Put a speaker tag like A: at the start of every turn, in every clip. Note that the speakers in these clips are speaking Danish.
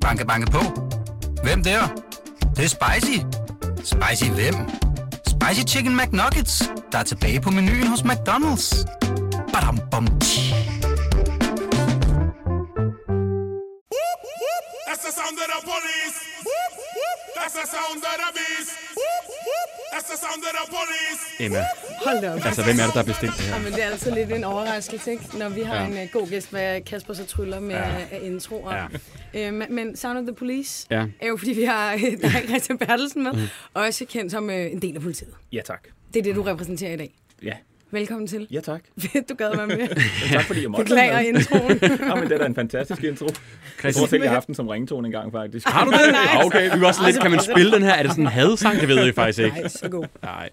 A: Banke, banke på. Hvem der? Det, er? det er spicy. Spicy hvem? Spicy Chicken McNuggets, der er tilbage på menuen hos McDonald's. Badum, bom, tji.
B: That's the sound of the police. That's the sound of the beast. That's the sound of the police.
C: Emma,
D: Hold da op.
C: altså hvem er det, der har bestilt det her?
D: Jamen, det er altså lidt en overraskelse, ikke? når vi har
C: Ja.
D: ja. en uh, god gæst med Kasper så tryller med
C: Ja.
D: ja. uh, introer.
C: Ja.
D: Ja. Øhm, men Sound of the Police
C: Ja.
D: er jo, fordi vi har øh, dig, Christian Bertelsen, med. Mm. Også kendt som øh, en del af politiet.
E: Ja, tak.
D: Det er det, du repræsenterer i dag.
E: Ja,
D: Velkommen til.
E: ja tak.
D: Fedt, du gad være med.
E: Men tak fordi jeg måtte.
D: Beklager
E: være med.
D: introen.
E: Ja, men det er da en fantastisk intro. Jeg tror
C: Christian,
E: selv, jeg har haft den som ringtone en gang, faktisk.
C: har du det? Ah, Okay, vi kan også lidt, kan man spille den her? Er det sådan en hadsang? Det ved jeg faktisk ikke.
D: Nej, så god.
C: Nej.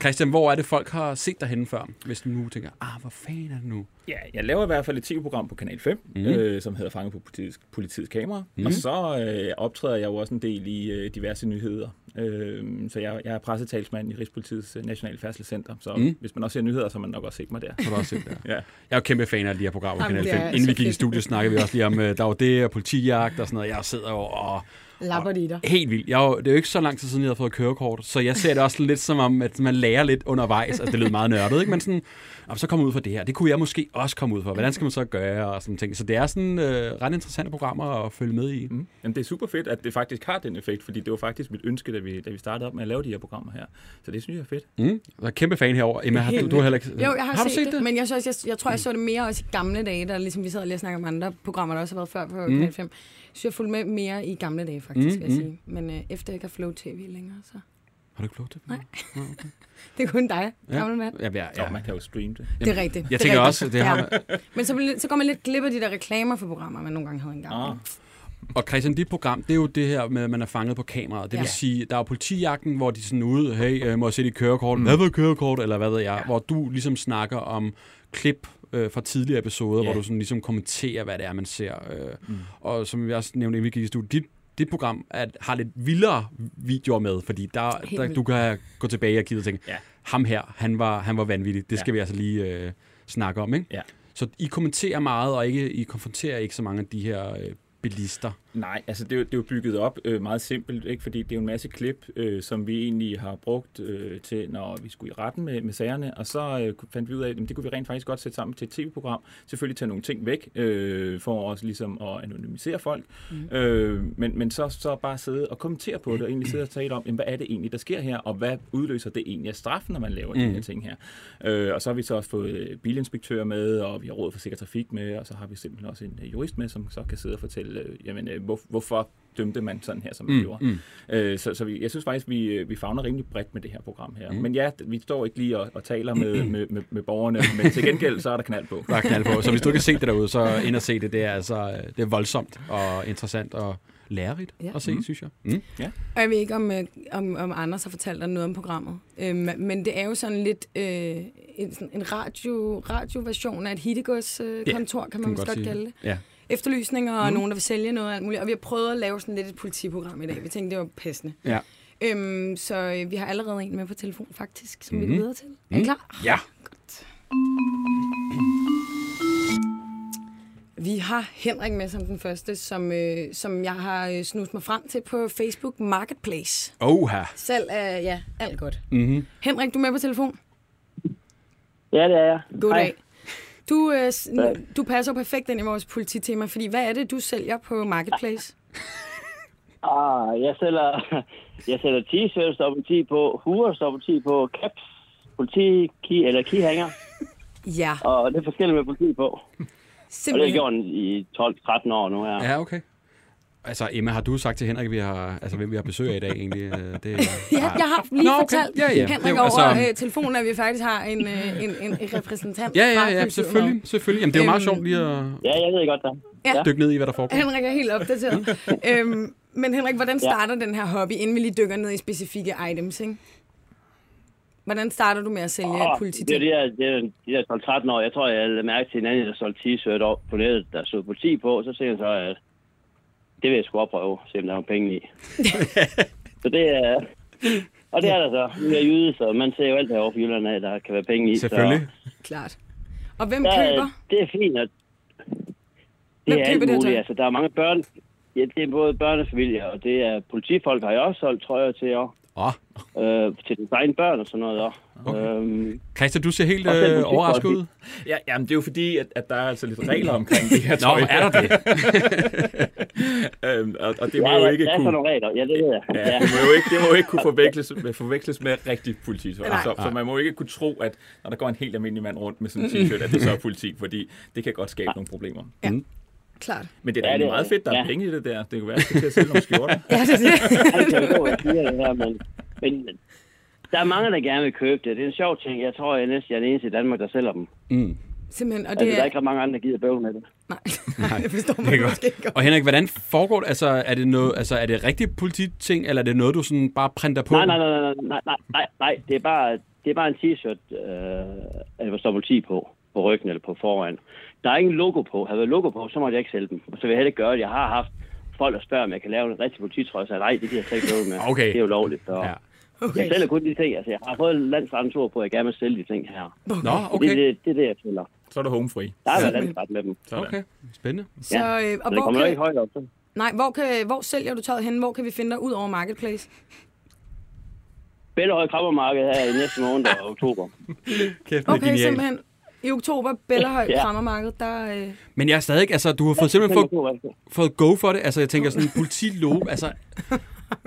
C: Christian, hvor er det, folk har set dig henne før? Hvis du nu tænker, ah, hvor fanden er det nu?
E: Ja, jeg laver i hvert fald et tv-program på Kanal 5,
C: Mhm.
E: mm. øh, som hedder Fanget på politiets, politiets kamera. Mm. Og så øh, optræder jeg jo også en del i øh, diverse nyheder. Øh, så jeg, jeg er pressetalsmand i Rigspolitiets øh, Nationale Færdselscenter. Så mm. hvis man også ser nyheder, så har man nok også set mig der.
C: Mhm. Har du også set det?
E: Ja.
C: Jeg er jo kæmpe fan af de her programmer på
D: Jamen,
C: Kanal 5.
D: det er
C: Inden vi
D: så
C: gik i
D: fedt.
C: studiet, snakkede vi også lige om, øh, der var det og politijagt og sådan noget. Jeg sidder jo og
D: Lapper de dig.
C: Helt vildt. Jeg, er jo- det er jo ikke så lang tid siden, jeg har fået kørekort, så jeg ser det også lidt som om, at man lærer lidt undervejs, at det lyder meget nørdet, ikke? Men sådan, "Nå, så kommer ud for det her. Det kunne jeg måske også komme ud for. Hvordan skal man så gøre? Og sådan ting. Så det er sådan øh, ret interessante programmer at følge med i. Mm.
E: Jamen, det er super fedt, at det faktisk har den effekt, fordi det var faktisk mit ønske, da vi, da vi startede op med at lave de her programmer her. Så det synes jeg er fedt.
C: Mm. Jeg er kæmpe fan herover. Emma, har, du, du har heller ikke...
D: Jo, jeg har,
C: du set det?
D: men jeg, synes, jeg, jeg tror, jeg så det mere også i gamle dage, der ligesom vi sad lige og snakkede om andre programmer, der også har været før på mm. Kanal 5. Så jeg fulgte med mere i gamle dage, faktisk, mm. vil jeg sige. Men øh, efter jeg ikke har Flow TV længere, så...
C: Har du ikke flot det? Nej.
D: Det er kun dig, gammel mand.
C: Ja, ja,
E: Ja.
C: ja.
E: Og man kan jo streame det.
D: Det er rigtigt.
C: Jeg
D: det er
C: tænker
D: rigtigt.
C: også, det har...
D: Men så, bliver- så går man lidt glip af de der reklamer for programmer, man nogle gange havde engang.
E: Ah.
D: Ah.
C: Og Christian, dit program, det er jo det her med, at man er fanget på kameraet. Det vil
D: Ja.
C: sige, der er jo politijagten, hvor de er sådan ude, hey, øh, må jeg se dit kørekort? Hvad
E: Mm.
C: ved kørekort? Eller hvad ved jeg? Hvor du ligesom snakker om klip øh, fra tidligere episoder,
E: Ja. Mm.
C: hvor du sådan ligesom kommenterer, hvad det er, man ser. Øh, Og som vi også nævnte, inden vi gik i studiet, dit, dit program er, har lidt vildere videoer med, fordi der,
D: Helt
C: der
D: vildt.
C: du kan gå tilbage og kigge og tænke,
E: Ja.
C: ham her, han var, han var vanvittig. Det skal
E: Ja.
C: vi altså lige øh, snakke om, ikke?
E: Ja.
C: Så I kommenterer meget, og ikke, I konfronterer ikke så mange af de her øh, bilister.
E: Nej, altså det er, jo, det er jo bygget op øh, meget simpelt, ikke? fordi det er jo en masse klip, øh, som vi egentlig har brugt øh, til, når vi skulle i retten med, med sagerne, og så øh, kunne- fandt vi ud af, at jamen, det kunne vi rent faktisk godt sætte sammen til et tv-program. Selvfølgelig tage nogle ting væk, øh, for også ligesom at anonymisere folk, mm. øh, men, men så, så bare sidde og kommentere på det, og egentlig sidde og tale om, jamen, hvad er det egentlig, der sker her, og hvad udløser det egentlig af straf, når man laver mm. de her ting her. Øh, og så har vi så også fået øh, bilinspektører med, og vi har råd for sikker trafik med, og så har vi simpelthen også en øh, jurist med, som så kan sidde og fortælle, øh, jamen, øh, hvor, hvorfor dømte man sådan her, som man mm, gjorde. Mm. Øh, så så vi, jeg synes faktisk, vi, øh, vi fagner rimelig bredt med det her program her. Mm. Men ja, vi står ikke lige og, og taler med, med, med, med borgerne, men til gengæld, så er der knald på.
C: der er knald på. Så hvis du ikke har set det derude, så ind og se det. Det er altså øh, det er voldsomt og interessant og lærerigt ja.
D: Ja.
C: at se, mm. synes jeg. Mm.
D: Og jeg ved ikke, om, øh, om, om Anders har fortalt dig noget om programmet. Øhm, men det er jo sådan lidt øh, en, sådan en radio, radioversion af et hittegodskontor, øh, kontor, kan man vist godt kalde det.
C: Ja.
D: Efterlysninger
C: Mm.
D: og nogen, der vil sælge noget og alt muligt. Og vi har prøvet at lave sådan lidt et politiprogram i dag. Vi tænkte, det var passende.
C: Ja.
D: Øhm, så øh, vi har allerede en med på telefon, faktisk, som mm. vi går videre til. Er I klar?
C: ja.
D: Vi har Henrik med som den første, som, øh, som jeg har øh, snudt mig frem til på Facebook Marketplace.
C: Oha.
D: Salg af, ja, alt godt. Mm-hmm. Henrik, du er med på telefon?
F: Ja, det er jeg.
D: Goddag. Du, øh, s- n- du passer jo perfekt ind i vores polititema, fordi hvad er det, du sælger på Marketplace?
F: Ah, jeg sælger, jeg sælger t-shirts, der er politi på, huer, der er politi på, caps, politi, key, eller keyhanger,
D: Ja,
F: og det er forskelligt med politi på. Og det har jeg
D: simpelthen.
F: gjort i 12-13 år nu her. Ja.
C: Ja, okay. Altså, Emma, har du sagt til Henrik, vi har, altså, hvem vi har besøg af i dag egentlig? Øh, Det,
D: Ja, jeg har lige
C: Nå, okay.
D: fortalt
C: Ja, ja.
D: Henrik
C: Det er jo-
D: over
C: altså-
D: altså... øh, telefonen, at vi faktisk har en, øh, en, en, en repræsentant
C: Ja, ja,
D: fra
C: ja,
D: Kulturmødet.
C: selvfølgelig. selvfølgelig. Jamen, det er jo meget
D: Øhm.
C: sjovt lige at
F: ja, jeg ved godt det.
D: Ja.
C: dykke ned i, hvad der foregår.
D: Henrik er helt opdateret. øhm, men Henrik, hvordan starter den her hobby, inden vi lige dykker ned i specifikke items, ikke? Hvordan starter du med at sælge oh,
F: Åh, det er
D: polititing?
F: de her, det er de her 12-13 år. Jeg tror, jeg lagde mærke til en anden, der solgte t-shirt op på nettet, der stod politi på. Så tænkte jeg så, at det vil jeg sgu opprøve, se om der er nogle penge i. så det er... Og det er der så. Vi er jyde, så man ser jo alt herovre fra Jylland af, der kan være penge i.
C: Selvfølgelig.
D: Klart. Og hvem
F: Så, der,
D: køber?
F: er- det er fint, at
D: Hvem
F: det er
D: køber
F: alt
D: det her
F: muligt.
D: tøj?
F: altså, der er mange børn.
G: ja, det er både børnefamilier, og det er politifolk, har jeg også solgt trøjer til, og
C: Åh, oh,
G: øh, til deres egne børn og sådan noget. Og, okay. øhm,
C: Christian, du ser helt
G: Og selv
C: øh,
G: musik-
C: overrasket ud.
E: Ja, jamen, det er jo fordi, at, at der er altså lidt regler omkring det her
C: Nå,
E: tøj.
C: er der det?
E: øhm, og, og det
G: ja,
E: må jo
G: ja,
E: ikke
G: der er sådan
E: kunne...
G: nogle regler. Ja, det ved jeg.
E: Ja, det, må jo ikke, det må jo ikke kunne forveksles med, forveksles med rigtig polititøj.
D: Nej.
E: Så, så man må jo ikke kunne tro, at når der går en helt almindelig mand rundt med sådan en t-shirt, at det så er politi, fordi det kan godt skabe nogle problemer.
D: Klart.
E: Men det er da egentlig
G: Ja, det er
E: meget fedt, der er
G: rigtigt. Ja.
E: penge i det der. Det kunne være, at jeg skal til at sælge nogle skjorter.
D: Ja, det er det.
G: Ej, det er jo, jeg siger det her, men, men der er mange, der gerne vil købe det. Det er en sjov ting. Jeg tror, jeg næsten er den eneste i Danmark, der sælger dem.
D: Simpelthen, og det
G: Altså, der er
D: er...
G: ikke ret mange andre, der gider bøvle med det.
D: Nej, nej, det forstår man måske ikke godt.
C: Og Henrik, hvordan foregår det? Altså, er det, noget, altså, er det rigtig polititing, eller er det noget, du sådan bare printer på?
G: Nej, nej, nej, nej, nej, nej, nej, nej. Det er bare, det er bare en t-shirt, øh, at der står politi på, på ryggen eller på foran. Der er ingen logo på. Havde der været logo på, så måtte jeg ikke sælge dem. Og så vil jeg heller ikke gøre det. Jeg har haft folk, der spørger, om jeg kan lave en rigtig polititrøje, så nej, det gider jeg slet ikke bøvle med.
C: Okay.
G: Det er jo lovligt. Så.
C: Ja.
G: Ja.
D: Okay.
G: Jeg sælger kun de ting. Altså, jeg har fået en landsrettentur på, at jeg gerne vil sælge de ting her.
C: Nå,
G: Okay. Det,
C: okay.
G: er det, det er det, jeg sælger.
E: Så er du home free.
G: Der er været landsret med dem.
E: Sådan.
C: Okay, spændende.
D: Så, øh, og
G: Så det
D: hvor
G: kommer nok
D: kan,
G: ikke højt op. så.
D: nej, hvor, kan, hvor sælger du tøjet hen? Hvor kan vi finde dig ud over Marketplace?
G: Bellehøj Krammermarked her i næste måned og oktober.
C: Kæft, det er
D: Okay,
C: genialt.
D: simpelthen. I oktober, Bellahøj, ja.
G: Ja.
D: Krammermarked, der... Øh,
C: Men jeg er stadig, altså, du har fået simpelthen fået,
G: Oktober, altså.
C: fået go for det. Altså, jeg tænker sådan en politilogo, altså...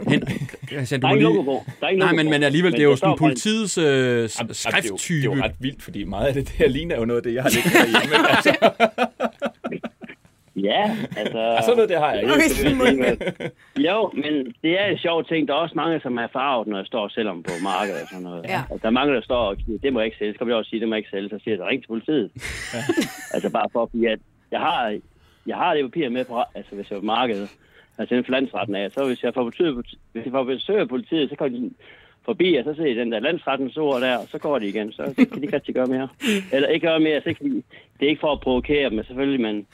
C: Henrik, Christian, du
G: Der er
C: må
G: ikke
C: lige...
G: logo på. Der er ikke
C: Nej,
G: logo
C: men,
G: på.
C: men alligevel, det er
G: der
C: jo sådan
G: står faktisk-
C: politiets øh,
E: Jamen, altså, det er jo-
C: skrifttype.
E: Det er jo ret vildt, fordi meget af det der ligner jo noget af det, jeg har ligget derhjemme. altså,
G: Ja, altså...
E: sådan noget, det har jeg ikke.
D: okay,
G: Det er ikke noget. Jo, men det er en sjov ting. Der er også mange, som er farvet, når jeg står og sælger dem på markedet og sådan noget.
D: Ja.
G: Altså, der er mange, der står og siger, det må jeg ikke sælge. Så kan jeg også sige, det må jeg ikke sælge. Så siger jeg, så ring til politiet. altså bare for at blive, at jeg har, jeg har det papir med på, altså hvis jeg er på markedet. Altså inden for landsretten af. Så hvis jeg får besøg, hvis jeg får besøg af politiet, så kommer de forbi, og så ser jeg den der landsrettens ord der, og så går de igen. Så kan de ikke rigtig gøre mere. Eller ikke gøre mere. Så kan de, det er ikke for at provokere dem, men selvfølgelig, men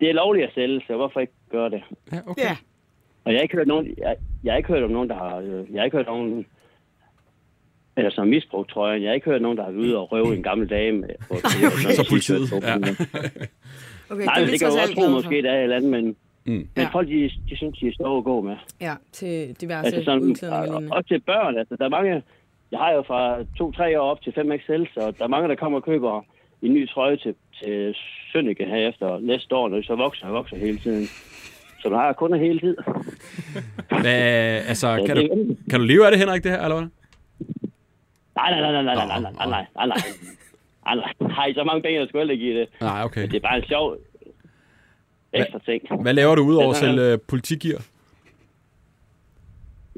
G: det er lovligt at sælge, så hvorfor ikke gøre det?
C: Ja, okay.
D: ja.
G: Og jeg har ikke hørt, nogen, jeg, jeg har ikke hørt om nogen, der har... øh, Jeg har ikke hørt om nogen, eller som misbrugt trøjen. Jeg har ikke hørt nogen, der har været ude og røve en gammel dame. På, okay.
C: Så politiet, ja.
D: Okay,
G: Nej,
D: er
G: men
D: vi
G: det kan jo
D: trods alt
G: også tro,
D: glade for.
G: måske der er et eller andet, men, mm. men
D: Ja.
G: folk, de, de synes, de er sjove at gå med.
D: Ja, til diverse
G: Altså
D: altså
G: sådan,
D: udklædninger og
G: og,
D: lignende.
G: og til børn, altså der er mange, jeg har jo fra 2-3 år op til 5 XL, så der er mange, der kommer og køber en ny trøje til, til Sønneke her efter næste år, når de så vokser og vokser hele tiden. Så man har kunder hele tiden.
C: Hvad, altså,
G: Ja,
C: kan
G: det er
C: du,
G: jo-
C: kan du leve af det, Henrik, det her, eller hvad?
G: Nej, nej, nej, nej, nej, nej, nej, nej, nej, nej, nej. Ej, nej. Har I så mange penge, jeg skulle heller ikke give det?
C: Nej, okay.
G: Det er bare en sjov ekstra ting.
C: Hvad laver du udover at
G: Den er-
C: sælge øh, politigear?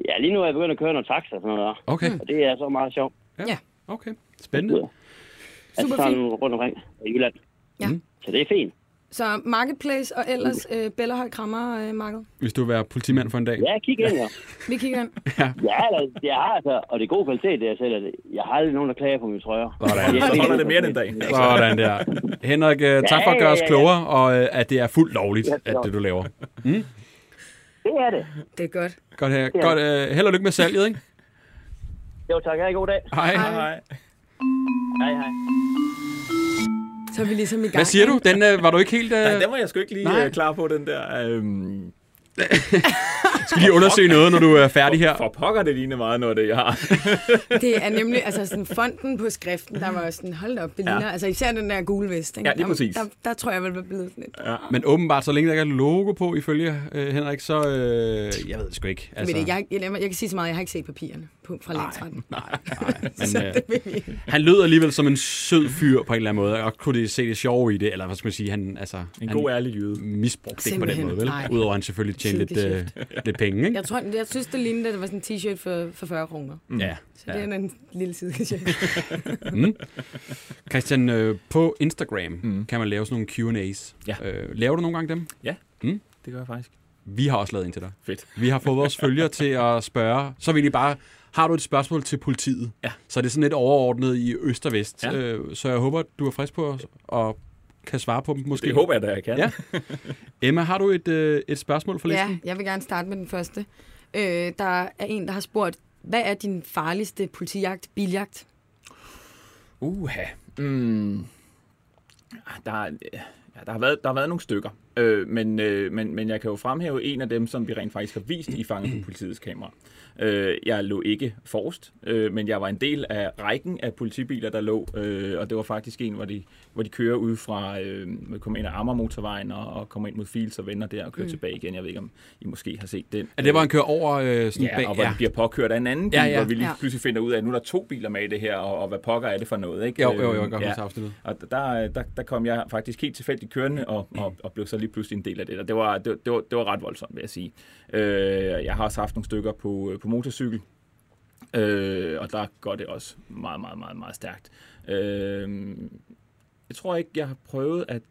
G: Ja, lige nu er jeg begyndt at køre noget taxa og sådan noget der.
C: Okay,
G: Og det er så meget sjovt.
D: Ja.
C: okay. Spændende.
G: Altså
D: Super
G: sådan Mhm. rundt omkring i Jylland.
D: Ja. Mm.
G: Så det er fint.
D: Så Marketplace og ellers
G: Uh.
D: øh, Bellahøj Krammer øh, Marked.
C: Hvis du vil være politimand for en dag.
G: Ja, kig ind, ja.
D: Vi kigger ind.
G: Ja, altså, det har altså, og det er god kvalitet, det jeg sælger det. Jeg har aldrig nogen, der klager på mine trøjer.
C: Sådan.
E: Så holder det mere end en dag. Altså,
C: Sådan der. Henrik, øh, tak for at gøre os
G: ja, ja.
C: klogere, og øh, at det er fuldt lovligt,
G: det er
C: at det du laver.
G: Det er det.
D: Det er godt.
C: Godt, her. Godt, øh, held og lykke med salget, ikke?
G: Jo, tak. Ha' en god dag.
C: Hej.
E: nej.
G: Hej, hej.
D: Så er vi ligesom i gang.
C: Hvad siger du? Den øh, var du ikke helt... Øh,
E: Nej, den var jeg sgu ikke lige
C: Nej.
E: øh, klar på, den der. Øhm,
C: skal lige undersøge noget, når du er færdig her.
E: for pokker, det ligner meget noget, af det jeg har.
D: ikke? Det er nemlig, altså sådan fonten på skriften, der var sådan, hold da op, det ligner, ja. altså især den der gule vest, ikke?
E: Ja, lige præcis.
D: Der, der, der tror jeg, jeg ville være blevet sådan lidt.
C: Men åbenbart, så længe der ikke er logo på, ifølge øh, Henrik, så... Øh, jeg ved det sgu ikke.
D: Altså. Det, jeg, jeg, jeg, kan sige så meget, jeg har ikke set papirerne på, fra landsretten.
C: Nej, nej. Men, øh,
D: Det ved vi.
C: han lød alligevel som en sød fyr på en eller anden måde, og kunne de se det sjove i det, eller hvad skal man sige, han, altså,
E: En
C: han
E: god, ærlig jyde.
C: misbrugte det ikke på den
D: Simpelthen.
C: måde, vel?
D: Nej.
C: Udover at han selvfølgelig tjente lidt, øh, lidt penge, ikke?
D: Jeg, tror, jeg synes, det lignede, at det var sådan en t-shirt for, for 40 kroner.
C: Ja.
D: Så det
C: ja.
D: er en lille side.
C: Mm. Christian, øh, på Instagram mm. kan man lave sådan nogle Q&A's.
E: Ja.
C: Øh, laver du nogle gange dem?
E: Ja,
C: Mm.
E: det gør jeg faktisk.
C: Vi har også lavet en til dig.
E: Fedt.
C: Vi har fået vores følgere til at spørge. Så vil de bare, har du et spørgsmål til politiet?
E: Ja.
C: Så er det sådan lidt overordnet i øst og vest.
E: Ja.
C: Øh, så jeg håber, du er frisk på os og kan svare på dem måske.
E: Det håber jeg, da jeg kan.
C: Ja. Emma, har du et, øh, et spørgsmål for listen?
D: Ja, jeg vil gerne starte med den første. Øh, der er en, der har spurgt, hvad er din farligste politijagt, biljagt?
E: Ah, Uha. Mm. Der, er- ja, der, har været, der har været nogle stykker. Øh, men, øh, men, men jeg kan jo fremhæve en af dem, som vi rent faktisk har vist i fanget på politiets kamera. Øh, jeg lå ikke forrest, øh, men jeg var en del af rækken af politibiler, der lå, øh, og det var faktisk en, hvor de, hvor de kører ud fra, øh, kommer ind ad Ammermotorvejen og, og kommer ind mod Fils og vender der og kører mm. tilbage igen. Jeg ved ikke, om I måske har set den.
C: Er det, hvor han kører over øh, sådan
E: Ja,
C: bag?
E: og hvor ja. de bliver påkørt af en anden bil,
C: Ja,
E: ja,
C: ja.
E: ja. hvor vi lige
D: Ja.
E: pludselig finder ud af, at nu er der to biler med i det her, og, og hvad pokker er det for noget, ikke?
C: Jo, jo, jo, jeg kan
E: Øhm,
C: godt huske afsnittet.
E: Og der, der, der kom jeg faktisk helt tilfældigt kørende, og, og, og blev så lige pludselig en del af det, og det var, det, var- det var, det var ret voldsomt, vil jeg sige. Øh, jeg har også haft nogle stykker på, øh, på motorcykel, øh, og der går det også meget, meget, meget, meget stærkt. Øh, jeg tror ikke, jeg har prøvet at...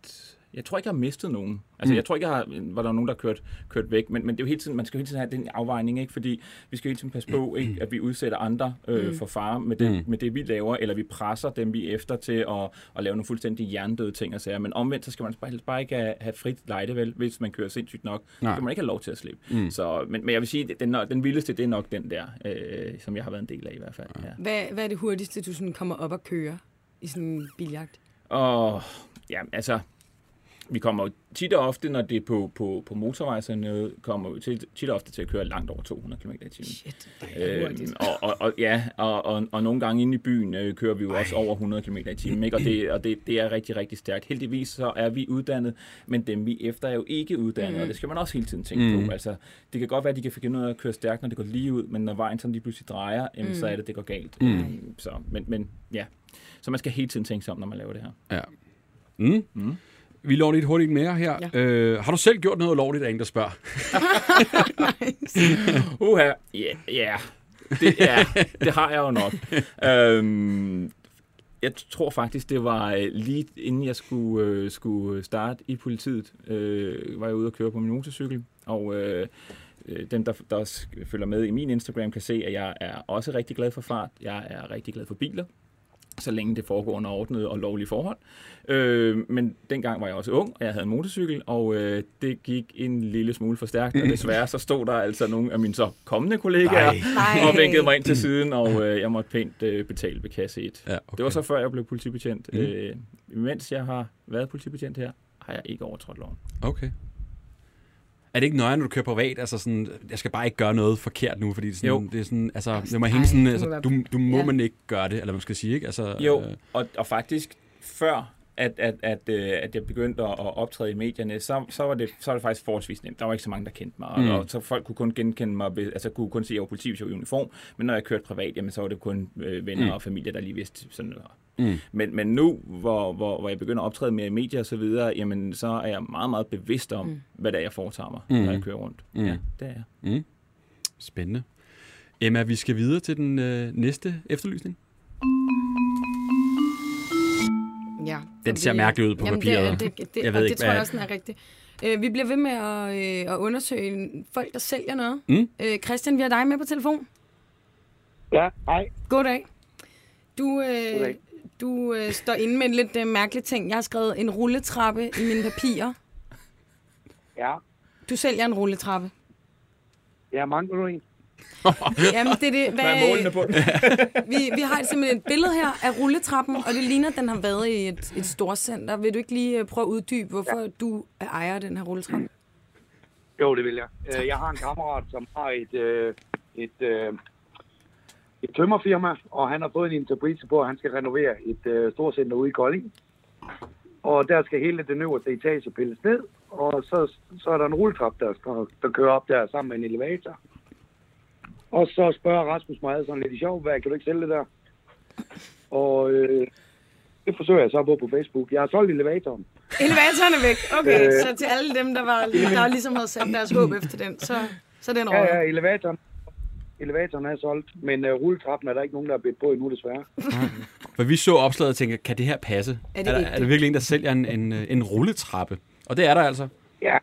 E: Jeg tror ikke, jeg har mistet nogen. Altså,
C: Mm.
E: mm. jeg tror ikke, jeg har, var der nogen, der kørt, kørt væk. Men, men det er jo hele tiden, man skal jo hele tiden have den afvejning, ikke? Fordi vi skal jo hele tiden passe på, ikke? at vi udsætter andre øh, for fare med det,
C: Mm.
E: med det, vi laver, eller vi presser dem, vi er efter til at, at lave nogle fuldstændig hjernedøde ting og sager. Men omvendt, så skal man bare, helst bare ikke have, have frit lejde, vel? Hvis man kører sindssygt nok,
C: Nej.
E: så kan man ikke have lov til at slippe.
C: Mm.
E: Mm. Så, men, men jeg vil sige, den, den vildeste, det er nok den der, øh, som jeg har været en del af i hvert fald. Ja.
D: Hvad, hvad er det hurtigste, du sådan kommer op og kører i sådan en biljagt?
E: Og ja, altså, vi kommer jo tit og ofte, når det er på, på, på motorvej, så noget, kommer vi til, tit og ofte til at køre langt over 200 km i timen.
D: Shit,
E: Øhm, og, og, og, ja, og, og, og nogle gange inde i byen øh, kører vi jo også over 100 km i timen, ikke? og, det, og det, det er rigtig, rigtig stærkt. Heldigvis så er vi uddannet, men dem vi er efter er jo ikke uddannet, mm. og det skal man også hele tiden tænke mm. på. Altså, det kan godt være, at de kan finde ud af at køre stærkt, når det går lige ud, men når vejen sådan lige pludselig drejer, jamen, så er det, det går galt. Mm. Så, men, men ja, så man skal hele tiden tænke sig om, når man laver det her.
C: Ja. Mm. Mm. Vi lover lidt hurtigt mere her. Ja.
D: Ja.
C: Øh, har du selv gjort noget ulovligt, er ingen, der spørger?
E: Uha, ja, ja. Det, ja, det har jeg jo nok. øhm, jeg tror faktisk, det var øh, lige inden jeg skulle, øh, skulle starte i politiet, øh, var jeg ude og køre på min motorcykel, og øh, øh, dem, der, der også følger med i min Instagram, kan se, at jeg er også rigtig glad for fart. Jeg er rigtig glad for biler, så længe det foregår under ordnede og lovlige forhold. Øh, men dengang var jeg også ung, og jeg havde en motorcykel, og øh, det gik en lille smule for stærkt, og desværre så stod der altså nogle af mine så kommende kollegaer
D: Nej.
E: og vinkede mig ind til siden, og øh, jeg måtte pænt øh, betale ved kasse 1.
C: Ja, okay. Mhm.
E: Det var så før jeg blev politibetjent. Mm. Øh, mens jeg har været politibetjent her, har jeg ikke overtrådt loven.
C: Okay. Er det ikke nøje, når du kører privat? Altså sådan, jeg skal bare ikke gøre noget forkert nu, fordi det er sådan,
E: Jo.
C: det er sådan altså, det må
D: sådan,
C: hænge sådan,
D: ej,
C: altså,
D: det
C: du,
D: må
C: du må
D: ja.
C: man ikke gøre det, eller hvad man skal sige, ikke? Altså,
E: Jo,
C: øh,
E: og, og faktisk før, at, at, at, øh, at jeg begyndte at at optræde i medierne, så, så, var det, så var det faktisk forholdsvis nemt. Der var ikke så mange, der kendte mig,
C: Mm.
E: mm. og så folk kunne kun genkende mig, ved- altså kunne kun se, at jeg var politi, hvis jeg var i uniform, men når jeg kørte privat, jamen, så var det kun øh, venner mm. og familie, der lige vidste sådan noget.
C: Mm.
E: Men, men nu, hvor, hvor, hvor jeg begynder at optræde mere i medier og så videre, jamen, så er jeg meget, meget bevidst om, mm. hvad det er, jeg foretager mig,
C: Mm.
E: mm. når jeg kører rundt.
C: Mm.
E: Ja, det er jeg.
C: Spændende. Emma, vi skal videre til den øh, næste efterlysning.
D: Ja,
C: Den
D: så
C: ser
D: vi-
C: mærkelig ud på
D: Jamen,
C: papiret.
D: Det, er- det, det,
C: Jeg
D: jeg
C: ved
D: ved det
C: ikke,
D: tror
C: hvad-
D: jeg også den er rigtigt. Øh, vi bliver ved med at, øh, at undersøge folk, der sælger noget.
C: Mm.
D: Øh, Christian, vi har dig med på telefon.
H: Ja, hej.
D: Goddag. Du, øh,
H: Goddag.
D: du øh, står inde med en lidt øh, mærkelig ting. Jeg har skrevet en rulletrappe i mine papirer.
H: Ja,
D: Du sælger en rulletrappe.
H: jeg mangler nu en.
D: Jamen, det er det. Hvad,
E: på den?
D: vi, vi har simpelthen et billede her af rulletrappen, og det ligner, at den har været i et, et storcenter. Vil du ikke lige øh, prøve at uddybe, hvorfor ja. du ejer den her rulletrappe?
H: Jo, det vil jeg. Øh, Jeg har en kammerat, som har et, øh, et, øh, et tømmerfirma, og han har fået en interprise på, at han skal renovere et øh, storcenter ude i Kolding. Og der skal hele den øverste etage pilles ned, og så, så er der en rulletrap, der, skal- der kører op der sammen med en elevator. Og så spørger Rasmus mig sådan lidt i sjov, hvad kan du ikke sælge det der? Og øh, det forsøger jeg så på på Facebook. Jeg har solgt elevatoren.
D: Elevatoren er væk. Okay,
H: Øh.
D: så til alle dem, der, var, der ligesom havde sat deres håb efter den, så, så er den over.
H: Ja, ja, elevatoren. Elevatoren er solgt, men øh, rulletrappen er der ikke nogen, der har bedt på endnu, desværre.
C: For vi så opslaget og tænkte, kan det her passe?
D: Er det
C: er, der,
D: ægte?
C: er der virkelig en, der sælger en, en, øh, en rulletrappe? Og det er der altså.
H: Ja,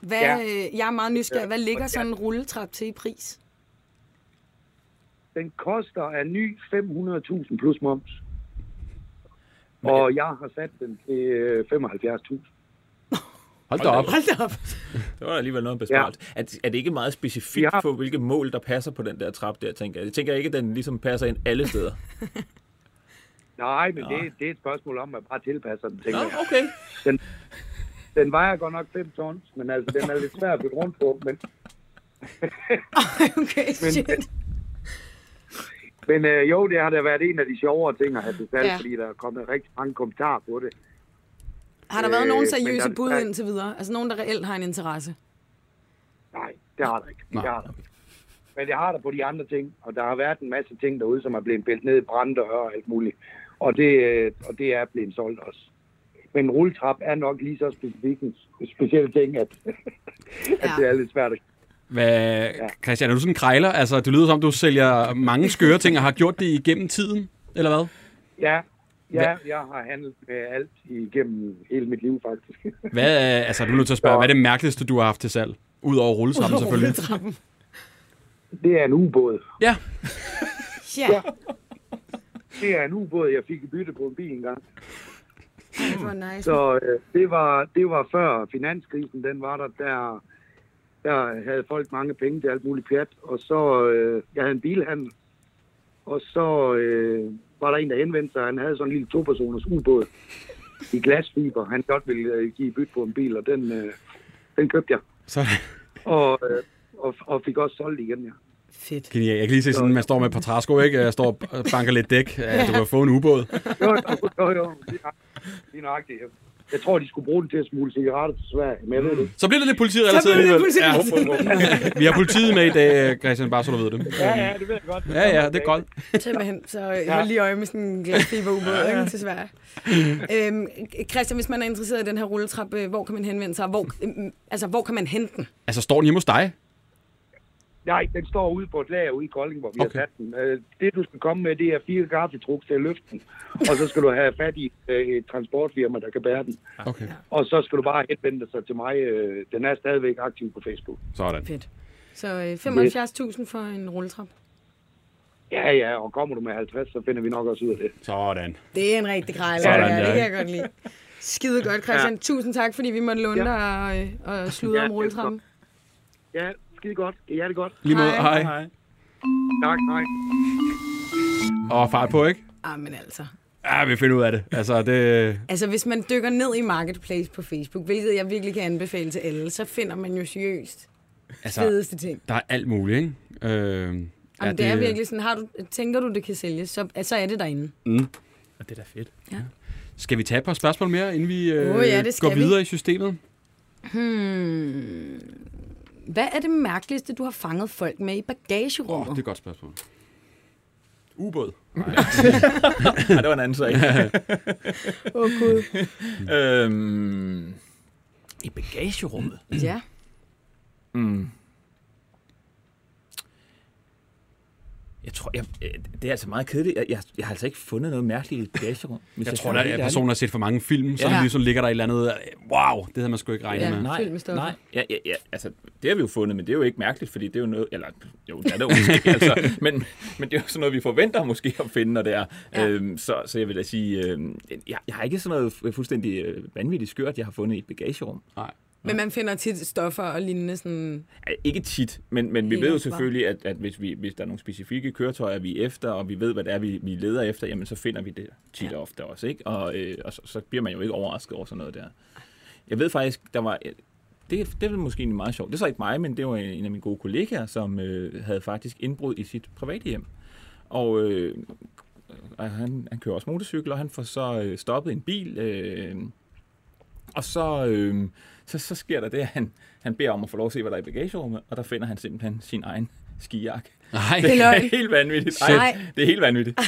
D: Hvad,
H: Ja.
D: øh, jeg er meget nysgerrig. Hvad ligger sådan en rulletrap til i pris?
H: den koster af ny 500.000 plus moms. Og jeg har sat den til øh, 75.000.
C: Hold da op.
D: Hold da op.
E: Det var alligevel noget besparet. Ja. Er, er det ikke meget specifikt
H: Ja.
E: for, hvilke mål, der passer på den der trap der, tænker jeg? Jeg tænker ikke, at den ligesom passer ind alle steder.
H: Nej, men det, det er et spørgsmål om, at man bare tilpasser den, tænker jeg.
E: okay.
H: Den vejer godt nok 5 tons, men altså, den er lidt svær at bygge rundt på. Men,
D: okay, shit.
H: men øh, jo, det har da været en af de sjovere ting at have til salg,
D: Ja.
H: ja. fordi der er kommet rigtig mange kommentarer på det.
D: Har der været nogen
H: Øh,
D: seriøse
H: men der-
D: bud
H: der-
D: indtil videre? Altså nogen, der reelt har en interesse?
H: Nej, det har der ikke. Det har der. ikke. Men det har der på de andre ting, og der har været en masse ting derude, som er blevet pillet ned i branddøre og alt muligt. Og det, øh, og det er blevet solgt også. Men en rulletrap er nok lige så specifik en speciel ting, at, at
D: Ja.
H: det er lidt svært at
C: Hvad, Christian, er du sådan en krejler? Altså, det lyder som, du sælger mange skøre ting og har gjort det igennem tiden, eller hvad?
H: Ja, ja jeg har handlet med alt igennem hele mit liv, faktisk.
C: Hvad, er- altså, du er nødt til at spørge, hvad er det mærkeligste, du har haft til salg? Udover rulletrappen selvfølgelig.
D: Rulletrappen.
H: Det er en ubåd.
C: Ja,
D: Ja,
H: Det er en ubåd, jeg fik i bytte på en bil engang.
D: hvor nice.
H: Så øh, det, var, det var før finanskrisen, den var der, der, der havde folk mange penge til alt muligt pjat. Og så, øh, jeg havde en bilhandel, og så øh, var der en, der henvendte sig, han havde sådan en lille topersoners ubåd i glasfiber. Han godt ville øh, give i bytte på en bil, og den, øh, den købte jeg.
C: så
H: Og, øh, og, og fik også solgt igen, ja.
D: Fedt.
C: genial. Jeg kan lige se sådan, man står med et par træsko, ikke? Jeg står og banker lidt dæk. Ja, du kan få en ubåd.
H: jo, jo, jo, jo. Lige nøjagtigt. Lige nøjagtigt. Jeg tror, de skulle bruge den til at smule cigaretter til Sverige, men jeg ved det ikke.
C: Så bliver det lidt politiet
D: Så
C: allerede.
D: blev det politiet.
C: Vi har politiet med i dag, øh, Christian, bare så du ved det.
H: Ja, ja, det ved jeg godt.
C: Ja, ja, det er godt.
D: Simpelthen, så jeg var lige øje med sådan en glasfiberubåd, ikke, til Sverige. Øhm, Christian, hvis man er interesseret i den her rulletrappe, øh, hvor kan man henvende sig? Hvor, øhm, altså, hvor kan man hente den?
C: Altså, står den hjemme hos dig?
H: Nej, den står ude på et lager ude i Kolding, hvor vi
C: Okay.
H: har sat den. Øh, Det, du skal komme med, det er fire gaffetruks til at løfte den. Og så skal du have fat i øh, et transportfirma, der kan bære den.
C: Okay.
H: Og så skal du bare henvende dig til mig. Øh, Den er stadigvæk aktiv på Facebook.
C: Sådan.
D: Fedt. Så øh, 75.000 for en rulletrappe.
H: Ja, ja, og kommer du med 50, så finder vi nok også ud af det.
C: Sådan.
D: Det er en rigtig krejler,
C: Sådan,
D: ja, det
C: ja.
D: kan jeg godt lide. Skide godt, Christian. Ja. Tusind tak, fordi vi måtte låne
H: Ja.
D: dig og, øh, og sludre
H: Ja,
D: om rulletrappen.
H: Ja, skide godt. Ja, det er godt.
C: Lige måde, hej.
D: Hej.
C: hej.
H: Tak, hej.
C: Og fart på, ikke?
D: Ah, men altså.
C: Ja, vi finder ud af det. Altså, det...
D: Altså, hvis man dykker ned i Marketplace på Facebook, hvilket jeg virkelig kan anbefale til alle, så finder man jo seriøst
C: Altså,
D: fedeste ting.
C: der er alt muligt, ikke? Øh, Jamen,
D: Jamen, det, er virkelig sådan, har du, tænker du, det kan sælges, så, så er det derinde.
E: Og det er da fedt.
C: Skal vi tage et par spørgsmål mere, inden vi øh,
D: Åh, ja, det
C: går
D: skal vi.
C: videre i systemet?
D: Hvad er det mærkeligste, du har fanget folk med i
C: Åh, oh,
D: bagagerummet?
C: det er et godt spørgsmål. Ubåd.
E: Nej, det var en anden sag.
D: Åh, Gud.
E: øhm, I bagagerummet?
D: Ja.
E: Jeg tror, jeg, øh, det er altså meget kedeligt. Jeg, jeg, jeg har altså ikke fundet noget mærkeligt i et bagagerum. hvis
C: Jeg
E: skal
C: tror,
E: være
C: der
E: helt
C: er
E: ærlig.
C: personer, der har set for mange film, så
E: Ja.
C: ja. lige sådan ligger der et eller andet, øh, wow, det havde man sgu ikke regnet
D: Ja.
C: med.
E: Nej,
D: Fyldt med stoffer.
E: nej. Ja, ja, ja, altså, det har vi jo fundet, men det er jo ikke mærkeligt, fordi det er jo noget... Eller, jo, det er det jo måske, altså, men, men det er jo sådan noget, vi forventer måske at finde, når det er.
D: Ja.
E: Ja. Øhm, så, så jeg vil da sige, øhm, jeg, jeg har ikke sådan noget fu- fuldstændig øh, vanvittigt skørt, jeg har fundet i et bagagerum.
C: Nej.
D: Men man finder tit stoffer og lignende sådan...
E: Øh, Ikke tit, men, men vi
D: Helt
E: ved jo
D: også bare.
E: selvfølgelig, at, at hvis, vi, hvis der er nogle specifikke køretøjer, vi er efter, og vi ved, hvad det er, vi, vi leder efter, jamen så finder vi det tit ja. og ofte også, ikke? Og, øh, og så, så bliver man jo ikke overrasket over sådan noget der. Jeg ved faktisk, der var... øh, Det, det var måske egentlig meget sjovt. Det er så ikke mig, men det var en, en af mine gode kollegaer, som øh, havde faktisk indbrud i sit private hjem. Og øh, og han, han kører også motorcykel, og han får så øh, stoppet en bil. Øh, og så, øh, så, så sker der det, at han, han beder om at få lov at se, hvad der er i bagagerummet, og der finder han simpelthen sin egen skijakke.
C: Nej,
D: Det er
E: Det
D: løgn.
E: er helt vanvittigt.
D: Shit.
E: Nej, det er helt vanvittigt.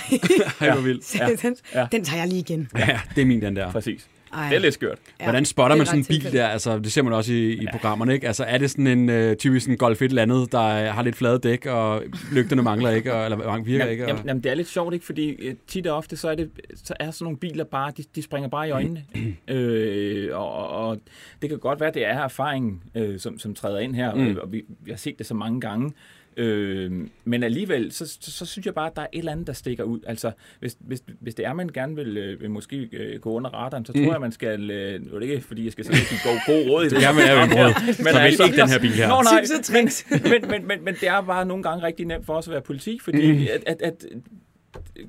C: Ej, hvor vildt.
D: Ja. Den, ja.
E: ja.
D: den tager jeg lige igen.
C: Ja, det er min, den der.
E: Præcis.
D: Ej.
E: Det er lidt skørt.
D: Ja,
C: Hvordan spotter
D: det er
C: man sådan en
D: ret
C: bil
D: tilfældigt.
C: der? Altså, det ser man også i, i programmerne, ikke? Altså, er det sådan en øh, typisk en Golf et eller andet, der øh, har lidt flade dæk, og lygterne mangler ikke, og, eller mange virker ikke?
E: Jamen,
C: Og...
E: jamen, jamen, det er lidt sjovt, ikke? Fordi øh, tit og ofte, så er, det, så er sådan nogle biler bare, de, de springer bare i øjnene. øh, og, og- og det kan godt være, det er erfaringen, øh, som, som træder ind her, mm. og vi, vi har set det så mange gange. Øh, men alligevel, så, så, så synes jeg bare, at der er et eller andet, der stikker ud. Altså, hvis, hvis, hvis det er, man gerne vil øh, vil måske øh, gå under radaren, så
C: Mm.
E: tror jeg, man skal... Øh, nu er det ikke, fordi jeg skal sådan give god, god råd i det.
C: Ja, men jeg er jo ikke råd. Så
E: Men
C: vælg
E: altså,
C: ikke den her bil her.
E: Nå, nej,
D: Tips og
E: men, men, men, men, men det er bare nogle gange rigtig nemt for os at være politi, fordi mm. at, at, at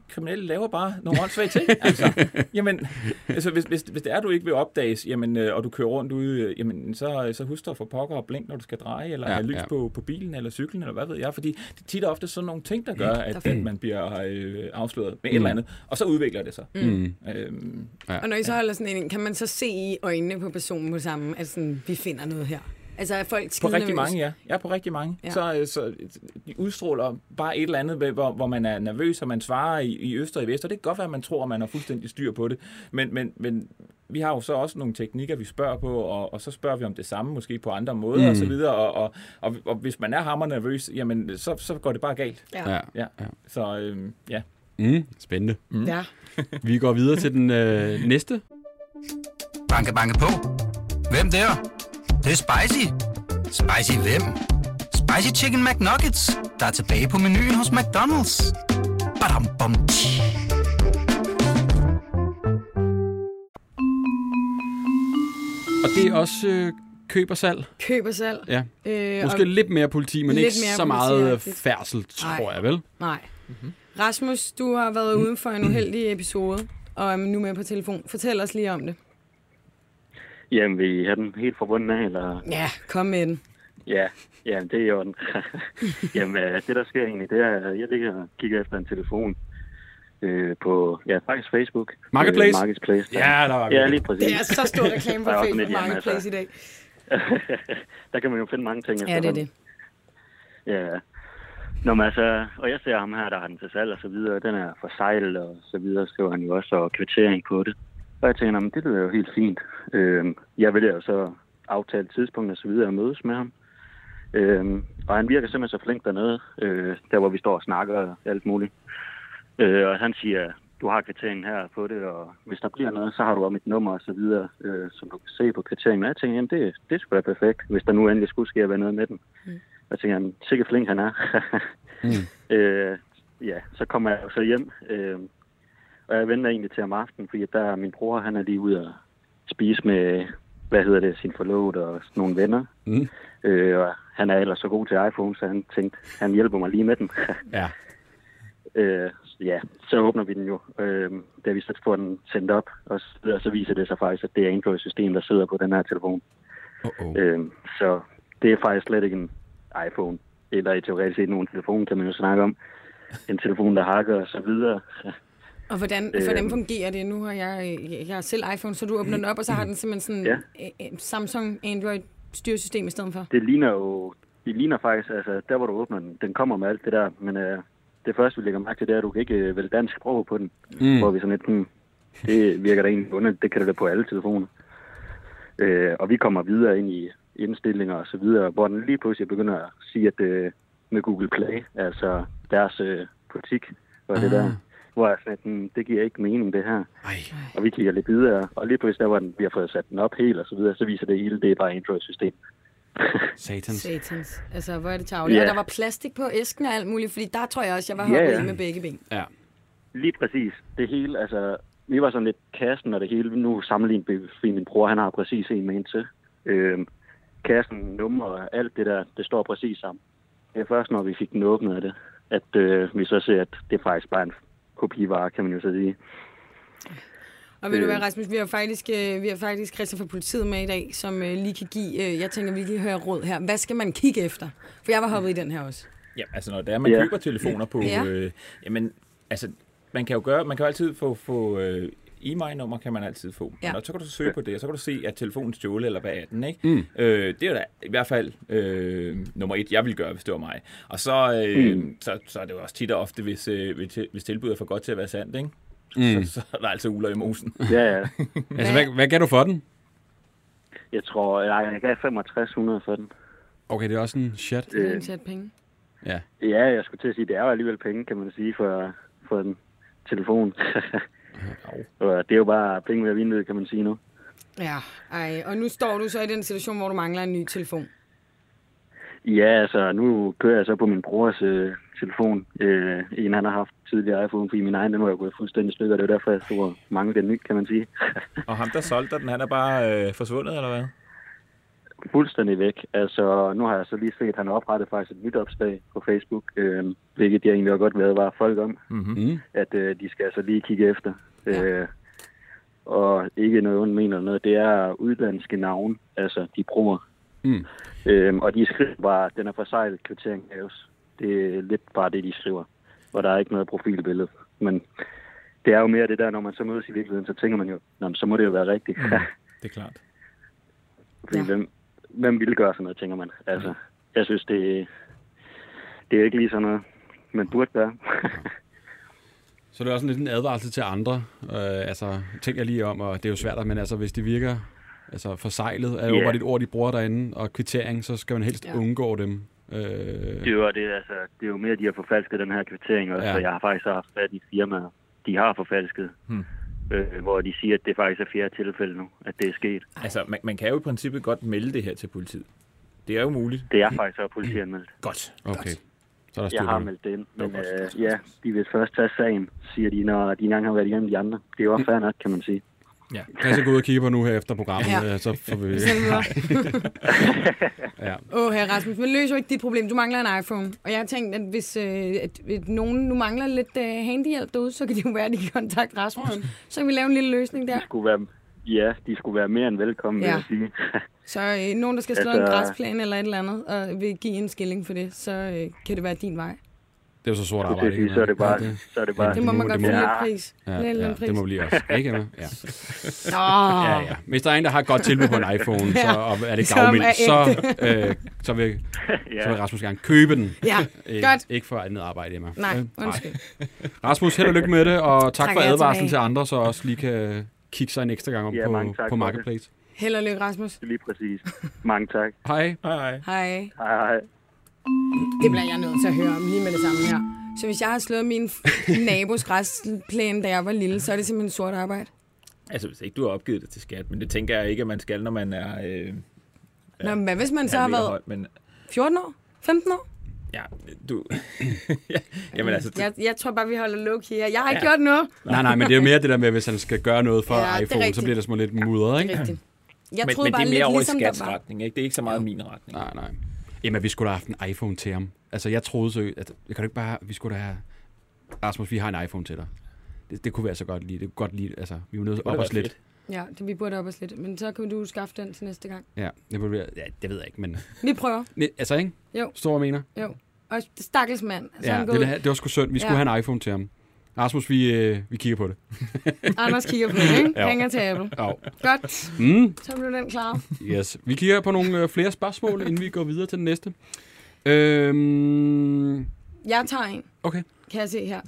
E: kriminelle laver bare nogle åndssvage ting. Altså, jamen, altså hvis, hvis, hvis det er, du ikke vil opdages, jamen, øh, og du kører rundt ude, øh, jamen, så, så husk dig for pokker og blink, når du skal dreje, eller
C: Ja,
E: ja, have lys
C: ja.
E: ja. på, på bilen eller cyklen, eller hvad ved jeg. Fordi det er tit og ofte sådan nogle ting, der gør, at, at man bliver øh, afsløret med mm. et eller andet. Og så udvikler det sig. Mm. Øhm,
D: Og når I så holder sådan en, kan man så se i øjnene på personen på samme, at sådan, vi finder noget her? Altså er folk
E: På
D: skide
E: rigtig mange, ja. Ja, på rigtig mange.
D: Ja.
E: Ja. Så, øh, så de udstråler bare et eller andet, ved, hvor, hvor man er nervøs, og man svarer i, i øst og i vest, og det kan godt være, at man tror, at man har fuldstændig styr på det. Men, men, men vi har jo så også nogle teknikker, vi spørger på, og, og så spørger vi om det samme, måske på andre måder mm. og så videre. Og, og, og, og hvis man er hammer nervøs, jamen, så, så går det bare galt.
C: Ja.
E: Ja. ja. Så øh, ja.
C: Mm, spændende.
D: Mm. ja.
C: Vi går videre til den øh, næste.
A: Banke, banke på. Hvem der? Det, er spicy. Spicy hvem? Spicy Chicken McNuggets, der er tilbage på menuen hos McDonald's. Badum, bom, tji.
C: Og det er også øh, køb og salg.
D: Køb og salg.
C: Ja.
D: Øh,
C: Måske lidt mere politi, men
D: Lidt
C: ikke
D: mere
C: så meget øh,
D: politiagtigt.
C: færdsel, tror
D: Nej.
C: jeg vel.
D: Nej. Mm-hmm. Rasmus, du har været ude for en uheldig episode, og er nu med på telefon. Fortæl os lige om det.
G: Jamen, vil I have den helt fra bunden af, eller?
D: Ja, kom med den.
G: Ja, jamen, det er jo den. jamen, øh, det der sker egentlig, det er, at jeg ligger og kigger efter en telefon øh, på, ja, faktisk Facebook.
C: Marketplace?
G: Øh, Marketplace.
C: Ja, der var
G: ja,
C: vi.
G: lige præcis.
D: Det er så stor reklame på
G: Der er også
D: Facebook
G: lidt hjemme,
D: Marketplace
G: altså.
D: i dag.
G: der kan man jo finde mange ting.
D: Ja, det er
G: efterhånden.
D: det.
G: Ja. Nå, men altså, og jeg ser ham her, der har den til salg og så videre. Den er for sejl og så videre, skriver han jo også, og kvittering på det. Og jeg tænker, "Nå, men det lyder jo helt fint. Øhm, jeg vil jo så aftale tidspunkt og så videre og mødes med ham. Øhm, og han virker simpelthen så flink dernede, øh, der hvor vi står og snakker og alt muligt. Øh, og han siger, du har kvitteringen her på det, og hvis der bliver noget, så har du også mit nummer og så videre, øh, som du kan se på kvitteringen. Og jeg tænker, jamen det, det skulle være perfekt, hvis der nu endelig skulle ske at være noget med den. Jeg tænker, jamen, sikkert flink han er. mm. øh, ja, så kommer jeg jo så hjem, øh, og jeg venter egentlig til om aftenen, fordi der er min bror, han er lige ude og spise med, hvad hedder det, sin forlovede og sådan nogle venner.
C: Mm.
G: Øh, og han er ellers så god til iPhone, så han tænkte, han hjælper mig lige med den.
C: Ja.
G: øh, ja, så åbner vi den jo, øh, da vi så får den sendt op, og så, videre, så viser det sig faktisk, at det er Android-system, der sidder på den her telefon.
C: Uh-oh.
G: Øh, så det er faktisk slet ikke en iPhone, eller i teoretisk set nogen telefon, kan man jo snakke om. En telefon, der hakker og så videre.
D: Og hvordan, øh, hvordan fungerer det? Nu har jeg, øh, jeg har selv iPhone, så du åbner den op, og så har den simpelthen sådan ja. Samsung Android styresystem i stedet for.
G: Det ligner jo, det ligner faktisk, altså der hvor du åbner den, den kommer med alt det der, men øh, det første vi lægger mærke til, det er, at du kan ikke øh, vælge dansk sprog på den. Mm. Hvor vi sådan lidt, hmm, det virker da egentlig underligt, det kan det da på alle telefoner. Øh, og vi kommer videre ind i indstillinger og så videre, hvor den lige pludselig begynder at sige, at øh, med Google Play, altså deres øh, politik og det der, hvor jeg sådan, lidt, hmm, det giver ikke mening det her.
C: Ej.
G: Og vi kigger lidt videre, og lige pludselig der, hvor den, vi har fået sat den op helt og så videre, så viser det hele, det er bare Android-system.
C: Satans.
D: Satans. Altså, hvor er det tavligt.
G: Ja.
D: Og der var plastik på æsken og alt muligt, fordi der tror jeg også, jeg var
G: Ja,
D: hoppet
G: ja.
D: i med begge ben.
C: Ja.
G: Lige præcis. Det hele, altså, vi var sådan lidt kassen og det hele. Nu sammenlignet med, fordi min bror, han har præcis en med en til. Øhm, kassen, nummer og alt det der, det står præcis sammen. Det er først, når vi fik den åbnet af det, at øh, vi så ser, at det er faktisk bare en kopivare, kan man jo så sige.
D: Og ved du hvad,
G: Øh.
D: Rasmus, vi har faktisk, øh, vi har faktisk Christian fra politiet med i dag, som øh, lige kan give, øh, jeg tænker, vi lige hører råd her. Hvad skal man kigge efter? For jeg var hoppet i den her også.
E: Ja, altså når det er, man
G: Ja.
E: yeah. køber telefoner på,
D: Ja.
E: øh, jamen, altså, man kan jo gøre, man kan jo altid få, få øh, e-mail-nummer kan man altid få.
D: Ja.
E: Ja. Og så kan du søge på det, og så kan du se, at telefonen stjålet, eller hvad er den, ikke? Mm. Øh, det er jo da i hvert fald øh, nummer et, jeg ville gøre, hvis det var mig. Og så, øh, mm. så, så er det jo også tit og ofte, hvis, øh, hvis til- hvis tilbuddet er for godt til at være sandt, ikke? Mm. Så, så er der altså uler i mosen.
G: Ja, ja.
C: Altså, hvad, hvad gav du for den?
G: Jeg tror, jeg, jeg gav 6500 for den.
C: Okay, det er også en chat.
G: Øh.
D: Det er en sat penge.
C: Ja.
G: Ja, jeg skulle til at sige, det er jo alligevel penge, kan man sige, for, for en telefon. og det er jo bare penge ved vinduet, kan man sige nu.
D: Ja, ej. Og nu står du så i den situation, hvor du mangler en ny telefon.
G: Ja, altså nu kører jeg så på min brors øh, telefon. Øh, en han har haft tidligere iPhone, fordi min egen den var jo gået fuldstændig i stykker. Det var derfor, jeg stod og manglede den ny, kan man sige.
E: Og ham, der solgte dig den, han er bare øh, forsvundet, eller hvad?
G: fuldstændig væk. Altså, nu har jeg så lige set, at han har oprettet faktisk et nyt opslag på Facebook, øh, hvilket jeg egentlig har godt været var folk om,
E: Mm.
C: Mm-hmm.
G: at øh, de skal altså lige kigge efter.
D: Ja.
G: Ja. Øh, og ikke noget, hun mener noget. Det er udlandske navne, altså de bruger.
C: Mm.
G: Øhm, og de skriver bare, den er forsejlet kvittering haves. Det er lidt bare det, de skriver. Og der er ikke noget profilbillede. Men det er jo mere det der, når man så mødes i virkeligheden, så tænker man jo, Nå, men så må det jo være rigtigt.
E: Mm. Det er klart.
G: Fordi
D: Ja.
G: ja. hvem, hvem ville gøre sådan noget, tænker man. Altså, jeg synes, det, det er ikke lige sådan noget, man burde gøre.
C: Så det er også lidt en advarsel til andre. Øh, altså, tænk jeg lige om, og det er jo svært, men altså, hvis det virker altså, forsejlet, er jo
G: Ja.
C: bare et ord, de bruger derinde, og kvittering, så skal man helst
D: Ja.
C: undgå dem. Øh,
G: Det er jo, det, altså, det er jo mere, de har forfalsket den her kvittering også,
C: Ja.
G: ja. og jeg har faktisk haft fat i firmaer, de har forfalsket, hmm. øh, hvor de siger, at det faktisk er fjerde tilfælde nu, at det er sket.
E: Altså, man, man kan jo i princippet godt melde det her til politiet. Det er jo muligt.
G: Det er faktisk så politianmeldt.
E: Godt.
C: okay. Så er der styr
G: Jeg
C: på
G: har
C: det.
G: meldt det ind, men
E: Det var godt.
G: øh, ja, de vil først tage sagen, siger de, når de engang har været igennem de andre. Det er jo også fair nok, kan man sige.
C: Kan jeg så gå ud og kigge på nu her efter programmet,
D: Ja.
C: ja. så får vi... ja.
D: Åh, oh, herre Rasmus, men løser jo ikke dit problem. Du mangler en iPhone. Og jeg har tænkt, at hvis, øh, at, at nogen nu mangler lidt øh, handyhjælp derude, så kan det jo være, at de kan kontakte Rasmus. Så kan vi lave en lille løsning der.
G: Skulle være, ja, de skulle være mere end velkommen, ja.
D: Ja.
G: vil jeg sige.
D: Så øh, nogen, der skal slå en
G: Altså-
D: græsplæne eller et eller andet, og vil give en skilling for det, så øh, kan det være din vej.
C: Det er jo så sort
G: Det
C: arbejde,
G: vil sige,
C: ikke?
G: så er det bare...
C: Ja, det,
G: Så er det bare
D: Det må
C: må-
D: man godt
C: det må-
D: få lidt
G: Ja.
D: pris.
C: ja,
D: Lidt
C: ja,
D: pris.
C: det må blive også. Ikke, Emma? Ja.
D: Nå,
C: Ja, ja. Hvis der er en, der har et godt tilbud på en iPhone, ja. så og er det
D: Som
C: gavmildt,
D: er
C: så,
D: ægte.
C: øh, så, vil, så vil
G: Ja,
C: Rasmus gerne købe den.
D: ja. Godt.
C: Ikke for andet arbejde, Emma.
D: Nej,
C: Øh,
D: undskyld.
C: Rasmus, held og lykke med det, og tak
D: Tak,
C: for
D: jeg er
C: advarslen
D: tilbage.
C: til andre, så også lige kan kigge sig en ekstra gang om
G: Ja, mange
C: på,
G: tak for
C: på
G: det.
C: Marketplace.
D: Held og lykke, Rasmus.
G: lige præcis. Mange tak.
C: Hej.
E: Hej, hej.
D: Hej.
G: Hej, hej.
D: Det bliver jeg nødt til at høre om lige med det samme her. Så hvis jeg har slået min nabos græsplæne, da jeg var lille, så er det simpelthen sort arbejde.
E: Altså, hvis ikke du har opgivet det til skat, men det tænker jeg ikke, at man skal, når man er... Øh,
D: Nå, men hvad hvis man så har
E: halvmeter
D: været
E: høj, men
D: 14 år? 15 år?
E: ja, du... ja, jamen altså, det,
D: Jeg, jeg tror bare, vi holder low key her. Jeg har ikke gjort noget.
C: Nej, nej, men det er jo mere det der med, hvis han skal gøre noget for
D: Ja, det er
C: ja, iPhone, så
D: rigtigt.
C: bliver det sådan lidt mudret, ikke?
D: Rigtigt. Jeg
E: men,
D: troede
E: men det
D: bare
E: er
D: lidt
E: mere over
D: ligesom,
E: i
D: der var.
E: skatsretning, ikke? Det er ikke så meget min retning.
C: Nej, nej. Jamen, vi skulle da have haft en iPhone til ham. Altså, jeg troede så, at jeg kan du ikke bare, vi skulle da have, Rasmus, vi har en iPhone til dig. Det, det kunne vi altså godt lide. Det kunne godt lide, altså, vi var nødt til at
E: kunne
C: op
E: da
C: os
E: være
C: lidt.
D: Ja, det, vi burde op os lidt. Men så kan du skaffe den til næste gang.
C: Ja, det, burde, være- ja, det ved jeg ikke, men...
D: Vi prøver.
C: Ne, altså, ikke?
D: Jo.
C: Stor mener.
D: Jo. Og stakkels mand. Så
C: Ja,
D: ja, han går
C: det,
D: ud.
C: det, var sgu synd. Vi skulle
D: Ja.
C: have en iPhone til ham. Rasmus, vi, øh, vi kigger på det.
D: Anders kigger på det, ikke?
C: Jo.
D: Hænger til Apple.
C: Oh.
D: Godt.
C: Mm,
D: Så blev den klar.
C: yes. Vi kigger på nogle øh, flere spørgsmål, inden vi går videre til den næste. Øhm,
D: Jeg tager en,
C: okay.
D: kan jeg se her.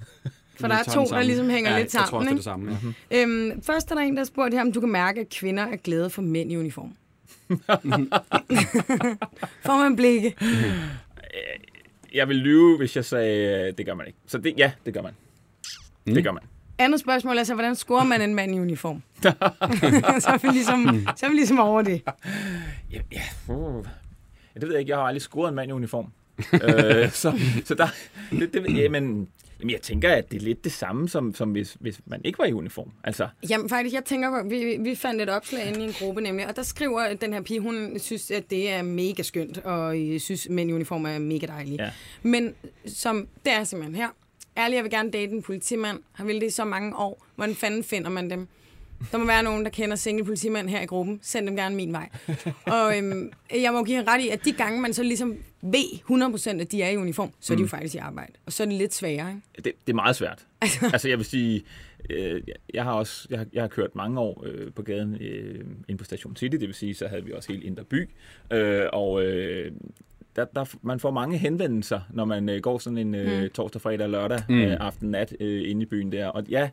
D: For
C: Vi
D: der
C: tager
D: er to,
C: den
D: der
C: sammen.
D: ligesom hænger
C: ja,
D: lidt
C: Jeg tror
D: sammen.
C: også, det er det
D: ikke?
C: samme. Ja.
D: Øhm, først er der en, der spurgte her, om du kan mærke, at kvinder er glade for mænd i uniform. Får man blikke?
E: Jeg vil lyve, hvis jeg sagde, øh, det gør man ikke. Så det, ja, det gør man. Mm. Det gør man.
D: Andet spørgsmål er så, hvordan scorer man en mand i uniform? så, er vi ligesom, så er vi ligesom over det.
E: Ja, ja, uh. ja, det ved jeg ikke. Jeg har aldrig scoret en mand i uniform. øh, så, så der, det, det, jamen, jamen, jeg tænker, at det er lidt det samme, som, som hvis, hvis man ikke var i uniform. Altså,
D: Jamen faktisk, jeg tænker, vi, vi fandt et opslag inde i en gruppe nemlig, og der skriver den her pige, hun synes, at det er mega skønt, og øh, synes, mænd i uniform er mega dejlige.
E: Ja.
D: Men som, det er simpelthen her. Ærligt, jeg vil gerne date en politimand. Har ville det i så mange år. Hvordan fanden finder man dem? Der må være nogen, der kender single politimand her i gruppen. Send dem gerne min vej. Og øhm, jeg må give hende ret i, at de gange, man så ligesom ved 100% at de er i uniform, så
E: Mm.
D: er de jo faktisk i arbejde. Og så er det lidt sværere, ikke?
E: det, det er meget svært. altså, jeg vil sige, øh, jeg- jeg har også jeg har, jeg har kørt mange år øh, på gaden øh, inde på Station City, det vil sige, så havde vi også helt indre by, øh, og øh, der, der, man får mange henvendelser, når man øh, går sådan en øh, torsdag, fredag, lørdag, mm. øh, aften, nat øh, inde i byen der, og ja,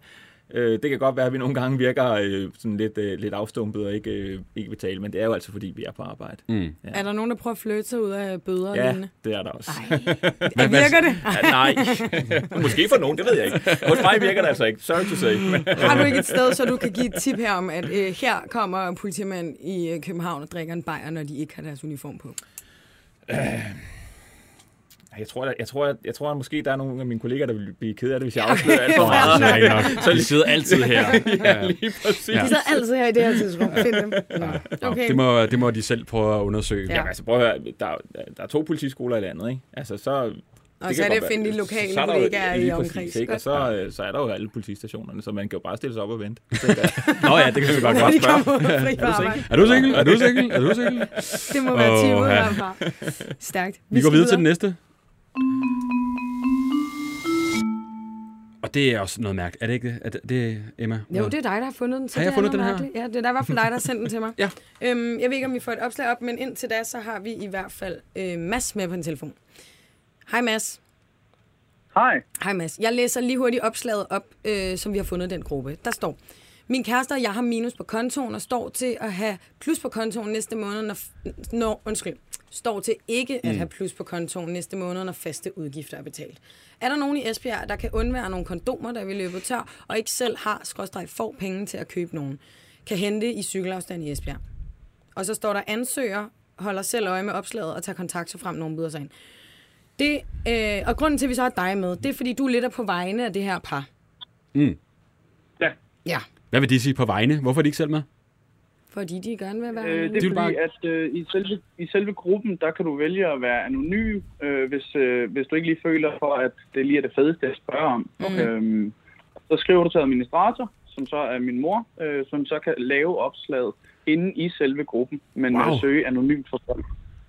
E: øh, det kan godt være, at vi nogle gange virker øh, sådan lidt, øh, lidt afstumpet og ikke, øh, ikke vil tale, men det er jo altså, fordi vi er på arbejde. Mm.
D: Ja. Er der nogen, der prøver at flytte sig ud af bøder og
E: Ja,
D: lignende?
E: det er der også.
D: Ej, virker det?
E: Ja, nej, måske for nogen, det ved jeg ikke. Hos mig virker det altså ikke, sorry to say. Men,
D: Har du ikke et sted, så du kan give et tip her om, at øh, her kommer politimænd i øh, København og drikker en bajer, når de ikke har deres uniform på?
E: Jeg tror, jeg, jeg, tror, jeg, jeg tror, at måske der er nogle af mine kolleger, der vil blive ked af det, hvis jeg afslører alt for meget.
C: det er ikke nok.
E: Så
C: Så de sidder altid her.
E: ja, lige præcis.
C: Ja.
E: Ja.
D: De sidder altid her i det her tidsrum. Find dem. Nå, Okay.
C: Det, må, det må de selv prøve at undersøge.
D: Ja.
E: Jamen, altså, prøv at høre, der, er- der er to politiskoler i landet, ikke? Altså, så...
D: Og så er
E: kan
D: det at
E: godt
D: finde de
E: være-
D: lokale
E: så er der jo-
D: kollegaer i
E: lige præcis,
D: omkreds.
E: Ikke? Og så, øh, så er der jo alle politistationerne, så man kan jo bare stille sig op og vente. tænker jeg.
C: Nå ja, det kan vi godt
D: Når
C: godt
D: de
C: spørge.
D: kommer ud og fri på arbejde.
C: Er du single? Er du single? Er du single?
D: Det må være
C: Åh,
D: 10 ud
C: ja.
D: herfra. Stærkt.
C: Vi går videre til den næste. Og det er også noget mærkeligt. Er det ikke det? Er det, det er Emma?
D: Jo, det er dig, der har fundet den. Så
C: Har jeg
D: det er
C: fundet
D: noget
C: den her?
D: mærkeligt. Ja, det er der i hvert fald dig, der har sendt den til mig.
C: Ja.
D: Øhm, jeg ved ikke, om vi får et opslag op, men indtil da, så har vi i hvert fald øh, Mads med på en telefon. Hej Mads.
I: Hej.
D: Hej Mads. Jeg læser lige hurtigt opslaget op, øh, som vi har fundet i den gruppe. Der står, min kæreste og jeg har minus på kontoen og står til at have plus på kontoen næste måned, når, f- når undskyld, står til ikke at have plus på kontoen næste måned, når faste udgifter er betalt. Er der nogen i Esbjerg, der kan undvære nogle kondomer, der vil løbe tør, og ikke selv har, skråstreg, får penge til at købe nogen? Kan hente i cykelafstand i Esbjerg. Og så står der ansøger, holder selv øje med opslaget og tager kontakt, så frem nogen byder sig ind. Det, øh, og grunden til, at vi så har dig med, det er, fordi du er lidt er på vegne af det her par.
C: Mm.
I: Ja.
D: Ja,
C: Hvad vil de sige på vegne? Hvorfor er de ikke selv med?
D: fordi de gerne vil være
I: Øh,
D: øh,
I: det er
C: vil
I: fordi,
C: bare-
I: at øh, i, selve, i selve gruppen, der kan du vælge at være anonym, øh, hvis, øh, hvis du ikke lige føler for, at det lige er det fedeste at spørge om. Okay. Øhm, så skriver du til administrator, som så er min mor, øh, som så kan lave opslaget inde i selve gruppen, men
C: Wow.
I: wow. søge anonymt for folk.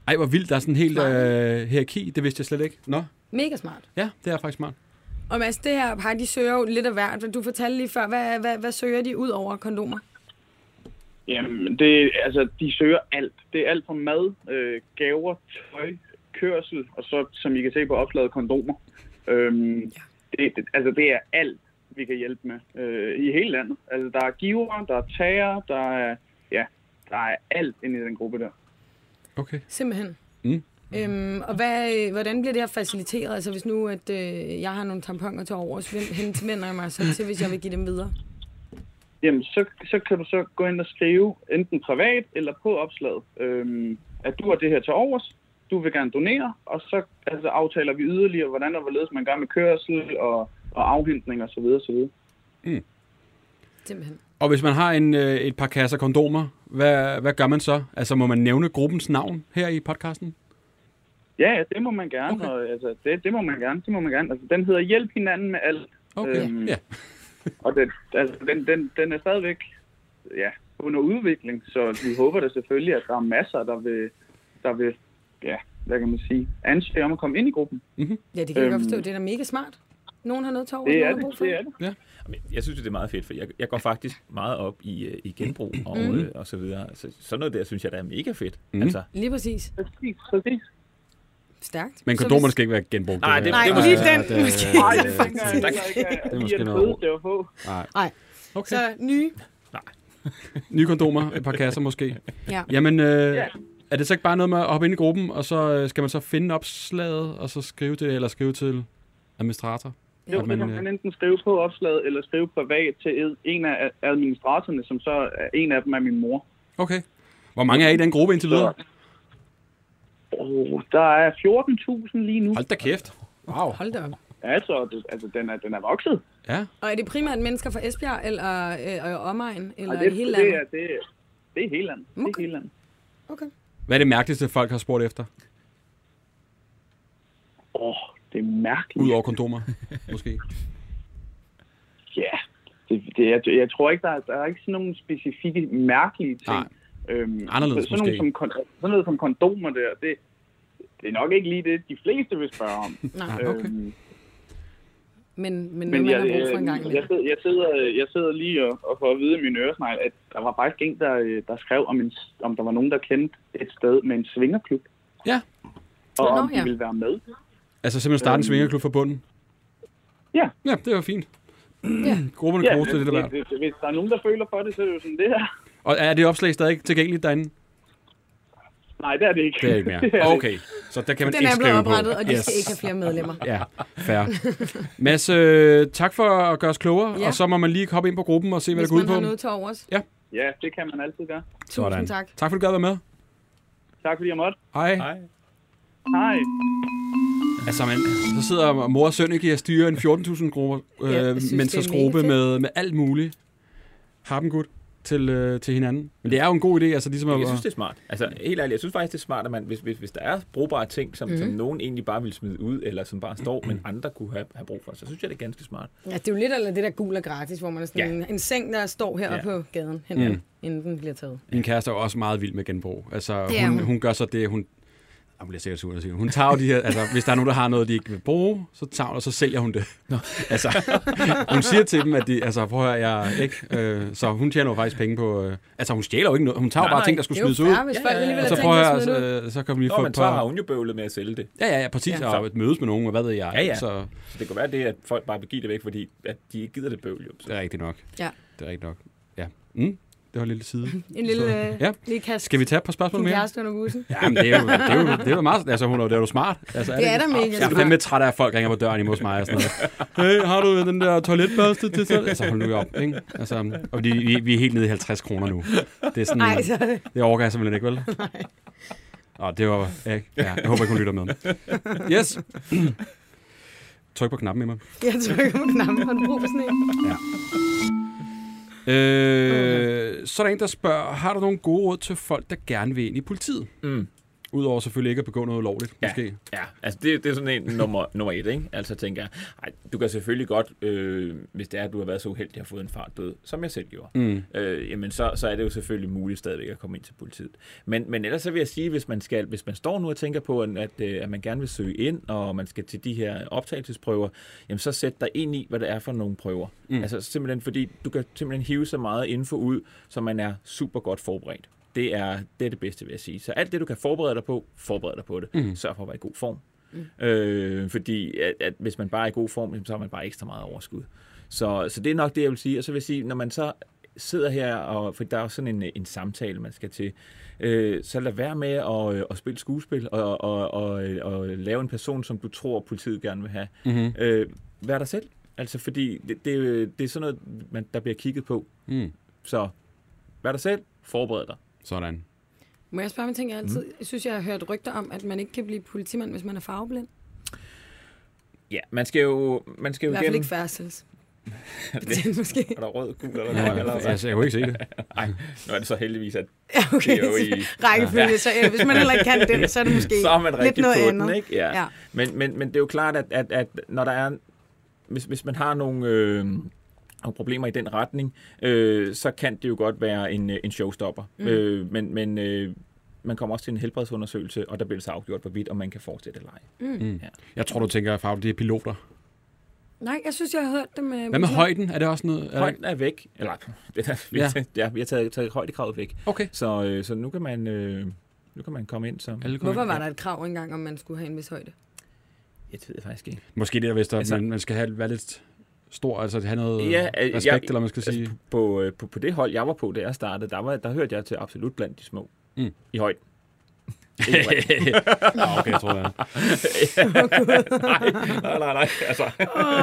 C: Ej, hvor vildt. Der er sådan en helt øh, hierarki. Det vidste jeg slet ikke. Nå,
D: mega smart.
C: ja, det er faktisk smart.
D: Og Mads, det her par, de søger jo lidt af hvert. Du fortalte lige før, hvad, hvad, hvad søger de ud over kondomer?
I: Jamen, det, altså, de søger alt. Det er alt fra mad, øh, gaver, tøj, kørsel, og så, som I kan se på opslaget, kondomer. Øhm, ja. det, det, altså, det er alt, vi kan hjælpe med øh, i hele landet. Altså, der er giver, der er tager, der er, ja, der er alt inde i den gruppe der.
C: Okay.
D: Simpelthen.
C: Mm.
D: Øhm, og hvad, øh, hvordan bliver det her faciliteret? Altså hvis nu, at øh, jeg har nogle tamponer til over, så hen til jeg mig så til, hvis jeg vil give dem videre.
I: Jamen, så, så kan du så gå ind og skrive, enten privat eller på opslaget, øhm, at du har det her til overs, du vil gerne donere, og så altså, aftaler vi yderligere, hvordan og hvorledes man gør med kørsel og, og afhentning osv. osv.
D: Simpelthen.
C: Og hvis man har en, øh, et par kasser kondomer, hvad, hvad gør man så? Altså, må man nævne gruppens navn her i podcasten?
I: Ja, ja, det må man gerne. Okay. Og, altså, det, det må man gerne. Det må man gerne. Altså, den hedder Hjælp hinanden med alt.
C: Okay,
I: Øhm.
C: ja.
I: Og den, altså, den, den, den er stadigvæk ja, under udvikling, så vi håber da selvfølgelig, at der er masser, der vil, der vil ja, hvad kan man sige, ansøge om at komme ind i gruppen.
D: Ja, det kan øhm. jeg
I: Øhm.
D: godt forstå. Det er da mega smart. Nogen har noget til over,
I: Det
D: nogen
I: er
D: har brug
I: det.
D: for.
I: Det er det.
E: Men Jeg synes, jo, det er meget fedt, for jeg, jeg går faktisk meget op i, øh, i genbrug og, mm. og så videre. Så, sådan noget der, synes jeg, der er mega fedt. Mm. Altså,
D: Lige præcis.
I: Præcis, præcis.
D: Stærkt.
C: Men
D: Så
C: kondomerne
D: hvis-
C: skal ikke være genbrugt.
E: Nej,
C: her.
E: det-
D: Nej,
E: det må-
D: lige
E: Ja,
D: den
C: det er-
D: måske.
I: Nej, det
D: faktisk.
I: tænker jeg heller ikke, at
C: er
I: de
C: måske
I: øh, er
C: noget
I: fede til at få.
D: Nej.
C: Okay.
D: Så nye.
C: Nye kondomer, et par kasser måske.
D: Ja.
C: Jamen, øh, er det så ikke bare noget med at hoppe ind i gruppen, og så øh, skal man så finde opslaget, og så skrive til, eller skrive til administrator?
I: Jo,
C: At
I: det kan
C: øh,
I: man enten skrive på opslaget, eller skrive privat til ed- en af administratorerne, som så er en af dem er min mor.
C: Okay. Hvor mange er I i den gruppe indtil videre?
I: Oh, der er 14.000 lige nu.
C: Hold da kæft. Wow.
D: Hold da op.
I: Altså, det, altså den, er, den er vokset.
C: Ja.
D: Og er det primært mennesker fra Esbjerg eller øh, og omegn, eller
I: Og
D: det, i
I: det,
D: hele
I: det,
D: landet?
I: er, det, er- det er hele landet. Okay. Det
D: Okay.
I: er hele landet.
D: Okay.
C: Hvad er det mærkeligste, folk har spurgt efter?
I: Åh, oh, det er mærkeligt.
C: Udover kondomer, måske.
I: Ja, det, det, jeg, jeg tror ikke, der er, der er ikke sådan nogle specifikke mærkelige ting.
C: Nej.
I: Øhm,
C: Anderledes
I: sådan,
C: måske.
I: nogle, som, kon- sådan noget som kondomer der, det, det er nok ikke lige det, de fleste vil spørge om.
D: Nej,
C: okay.
I: Øhm,
D: men, men,
I: men
D: men man
I: jeg, øh,
D: har brug for
C: øh,
D: en gang
I: jeg, jeg,
D: imellem.
I: sidder, jeg, sidder, jeg sidder lige og, og får at vide i min øresnegl, at der var faktisk en, der, øh, der skrev, om, en, s- om der var nogen, der kendte et sted med en svingerklub.
C: Ja.
I: Og
D: Nå,
I: om de
D: ja.
I: ville være med.
C: Altså simpelthen starte en svingerklub fra bunden?
I: Ja.
C: Ja, det var fint.
D: Ja.
C: Grupperne ja, koste det, det,
I: hvis,
C: der var.
I: hvis, hvis der er nogen, der føler for det, så er det jo sådan det her.
C: Og er det opslag stadig tilgængeligt derinde?
I: Nej, det er det ikke.
C: Det er ikke
I: Det
C: mere. Okay, så der kan man
D: Den
C: ikke
D: er blevet
C: skrive
D: oprettet,
C: på.
D: og de yes. skal ikke have flere medlemmer.
C: Ja, fair. Mads, øh, tak for at gøre os klogere,
D: Ja.
C: ja. og så må man lige hoppe ind på gruppen og se, hvad
D: Hvis
C: der går ud
D: man
C: på.
D: har noget til overs.
I: Ja, det kan man altid gøre.
D: Tusind tak.
C: Tak fordi du gad at være med.
I: Tak fordi jeg måtte.
C: Hej.
E: hej.
I: Hej.
C: Altså, man, så sidder mor og søn ikke og styrer en 14.000 grupper, øh,
D: Ja, jeg
C: ja,
D: synes, det er
C: menneskers
D: mega
C: gruppe
D: fedt.
C: med, med alt muligt harpengud til, øh, til hinanden. Men det er jo en god idé, altså ligesom at...
E: Jeg synes, det er smart. Altså, helt ærligt, jeg synes faktisk, det er smart, at man, hvis, hvis, hvis der er brugbare ting, som, mm.
D: Mhm.
E: som nogen egentlig bare vil smide ud, eller som bare står, men andre kunne have, have brug for, så synes jeg, det er ganske smart.
D: Ja, det er jo lidt eller det der gul og gratis, hvor man er sådan ja. en seng, der står heroppe ja. på gaden, hen, mm. inden den bliver taget.
C: Min kæreste er jo også meget vild med genbrug. Altså,
D: Det er
C: hun,
D: hun.
C: hun. hun gør så det, hun... Jeg bliver sikkert sur, når jeg siger det. Hun tager jo de her... Altså, hvis der er nogen, der har noget, de ikke vil bruge, så tager hun, og så sælger hun det. Nå. Altså, hun siger til dem, at de... Altså, prøv at høre, jeg ikke... Øh, så hun tjener jo faktisk penge på... Øh, altså, hun stjæler jo ikke noget. Hun tager jo
E: Nej,
C: bare ting,
E: nej.
C: der skulle
D: Det er jo
C: smides ud.
D: fair, hvis folk alligevel
C: Og
D: har
C: så
D: tænkt
C: prøv
D: sig at
C: at
D: smide det ud.
C: høre, øh, så kan vi lige
E: Nå,
C: få
E: men
C: et
E: så har
C: par...
E: hun jo bøvlet med at sælge det.
C: Ja, ja, ja, præcis.
D: Ja.
C: Ja. Og mødes med nogen, og hvad ved jeg.
E: Ja, ja.
C: Så
E: Så det kan være det, at folk bare vil give det væk, fordi at de ikke gider det bøvl. Jo. Så
C: det er rigtigt nok.
D: Ja.
C: Det er rigtigt nok. Ja. Mm, det var en lille side.
D: En lille, øh,
C: Ja.
D: lille kast.
C: Skal vi tage et par spørgsmål
D: Din
C: mere?
D: kæreste under bussen.
C: Ja, men det er jo, det er jo, det er jo meget... Altså, hun er jo, det er jo smart. Altså,
D: Det er
C: ikke?
D: da mega
C: Jeg er fandme træt af, at folk ringer på døren imod mig og sådan noget. Hey, har du den der toiletbørste til selv? Altså, hold nu op, ikke? Altså, og de, vi, vi er helt nede i 50 kroner nu. Det er sådan,
D: Nej,
C: Ej,
D: så
C: det overgår jeg simpelthen ikke, vel? Nej. Og det var, ja, ja, jeg håber ikke, hun lytter med. Yes. Tryk på knappen, Emma.
D: jeg trykker på knappen, og du bruger sådan en.
C: Øh, så er der en, der spørger, har du nogle gode råd til folk, der gerne vil ind i politiet?
E: Mm.
C: Udover selvfølgelig ikke at begå noget ulovligt, måske.
E: Ja, altså det, det er sådan en nummer, nummer et, ikke? Altså tænker jeg, ej, du kan selvfølgelig godt, øh, hvis det er, at du har været så uheldig at have fået en fartbøde, som jeg selv gjorde,
C: Mm.
E: øh, jamen så, så er det jo selvfølgelig muligt stadigvæk at komme ind til politiet. Men, men ellers så vil jeg sige, hvis man, skal, hvis man står nu og tænker på, at, at, øh, at man gerne vil søge ind, og man skal til de her optagelsesprøver, jamen så sæt dig ind i, hvad det er for nogle prøver. Mm. Altså simpelthen fordi, du kan simpelthen hive så meget info ud, så man er super godt forberedt. Det er, det er det bedste, vil jeg sige. Så alt det, du kan forberede dig på, forbered dig på det. Mm. Sørg for at være i god form. Mm. Øh, fordi at, at hvis man bare er i god form, jamen, så har man bare ekstra meget overskud. Så, så det er nok det, jeg vil sige. Og så vil jeg sige, når man så sidder her, og, for der er jo sådan en, en samtale, man skal til, øh, så lad være med at, øh, at spille skuespil og, og, og, øh, og lave en person, som du tror, politiet gerne vil have. Mm-hmm. Øh, vær dig selv. Altså, fordi det, det, øh, det er sådan noget, man, der bliver kigget på.
C: Mm.
E: Så vær dig selv, forbered dig.
C: Sådan.
D: Må jeg spørge om en ting, jeg altid mm. synes, jeg har hørt rygter om, at man ikke kan blive politimand, hvis man er farveblind.
E: Ja, man skal jo, man skal
D: I
E: jo
D: hvert fald
E: igennem...
D: ikke færdsels. Betjent måske.
E: Er der rød, gul eller
C: Ja,
E: hvad? Eller
C: altså,
E: hvad?
C: jeg kunne ikke se det.
E: Nej, nu er det så heldigvis, at
D: Ja, okay.
E: Det er jo i-
D: Rækkefølge, så øh, hvis man heller ikke kan den, så er det måske
E: så er man
D: lidt
E: rigtig
D: noget
E: på
D: andet.
E: den, ikke? Ja.
D: Ja.
E: ja. Men, men, men det er jo klart, at, at, at når der er, hvis, hvis man har nogle, øh, nogle problemer i den retning, øh, så kan det jo godt være en, øh, en showstopper. Mm. Øh, men men øh, man kommer også til en helbredsundersøgelse, og der bliver det så afgjort, hvorvidt om man kan fortsætte eller ej.
C: Jeg tror, du tænker, Fagl, det er piloter.
D: Nej, jeg synes, jeg har hørt det med...
C: Hvad med højden? Er det også noget? Er der...
E: Højden er væk. Eller, det er, vi,
C: Ja.
E: ja. ja, vi har taget, taget højdekravet væk.
C: Okay.
E: Så, øh, så nu, kan man, øh, nu kan man komme ind som...
C: Alle kommer
D: Hvorfor
C: ind.
D: var der et krav engang, om man skulle have en vis højde?
E: Jeg ved faktisk ikke.
C: Måske det der, hvis der,
E: Altså-
C: altså, man, man skal have, være lidt stor, altså have noget
E: Ja,
C: ja,
E: øh,
C: respekt,
E: jeg-
C: jeg, eller man skal sige.
E: Altså, på, øh, på, på det hold, jeg var på, da jeg startede, der, var, der hørte jeg til absolut blandt de små
C: Mm.
E: i højden. Ikke i bredden.
C: Ah, okay, jeg tror jeg.
E: nej, nej, nej. Altså,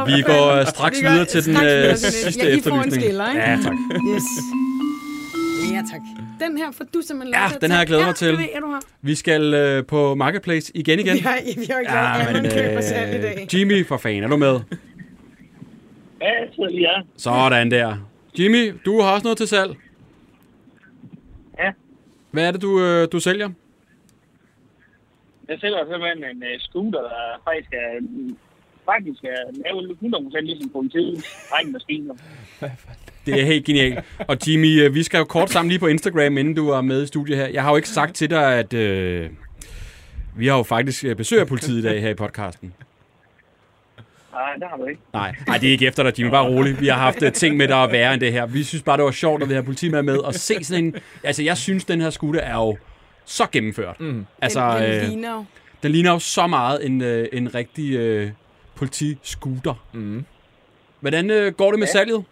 C: Vi går øh, straks
D: Vi går
C: videre til den
D: straks
C: øh,
D: videre til den-
C: sidste
D: Ja, I får en
C: efterlysning.
D: skiller, ikke?
C: Ja, tak.
D: Yes. Ja, tak. Den her får du simpelthen
C: Ja,
D: lov til at
C: den har jeg
D: tage.
C: glædet mig
D: Ja,
C: til.
D: det ved jeg, du har.
C: Vi skal øh, på Marketplace igen igen. Ah, øh,
D: Vi har, vi har ikke lavet andet end køber selv i dag.
C: Jimmy, for fanden, er du med?
F: Ja, jeg sidder lige her.
C: Sådan der. Jimmy, du har også noget til salg.
I: Ja.
C: Hvad er det, du, øh, du sælger?
I: Jeg sælger simpelthen en uh, scooter, der faktisk er, faktisk er lavet 100% ligesom på en tidlig regnmaskine.
C: Det er helt genialt. Og Jimmy, øh, vi skal jo kort sammen lige på Instagram, inden du er med i studiet her. Jeg har jo ikke sagt til dig, at øh, vi har jo faktisk øh, besøg af politiet i dag her i podcasten.
I: Nej, det har du ikke.
C: Nej, nej, det er ikke efter dig, Jimmy. Bare rolig. Vi har haft øh, ting med dig at være end det her. Vi synes bare, det var sjovt, at vi har politimand med. Og se sådan en... Altså, jeg synes, den her skute er jo så gennemført. Mm. Altså,
D: den, den
C: øh,
D: ligner jo.
C: den ligner jo så meget en, øh, en rigtig øh, politiskuter. Mm. Hvordan øh, går det med ja. salget?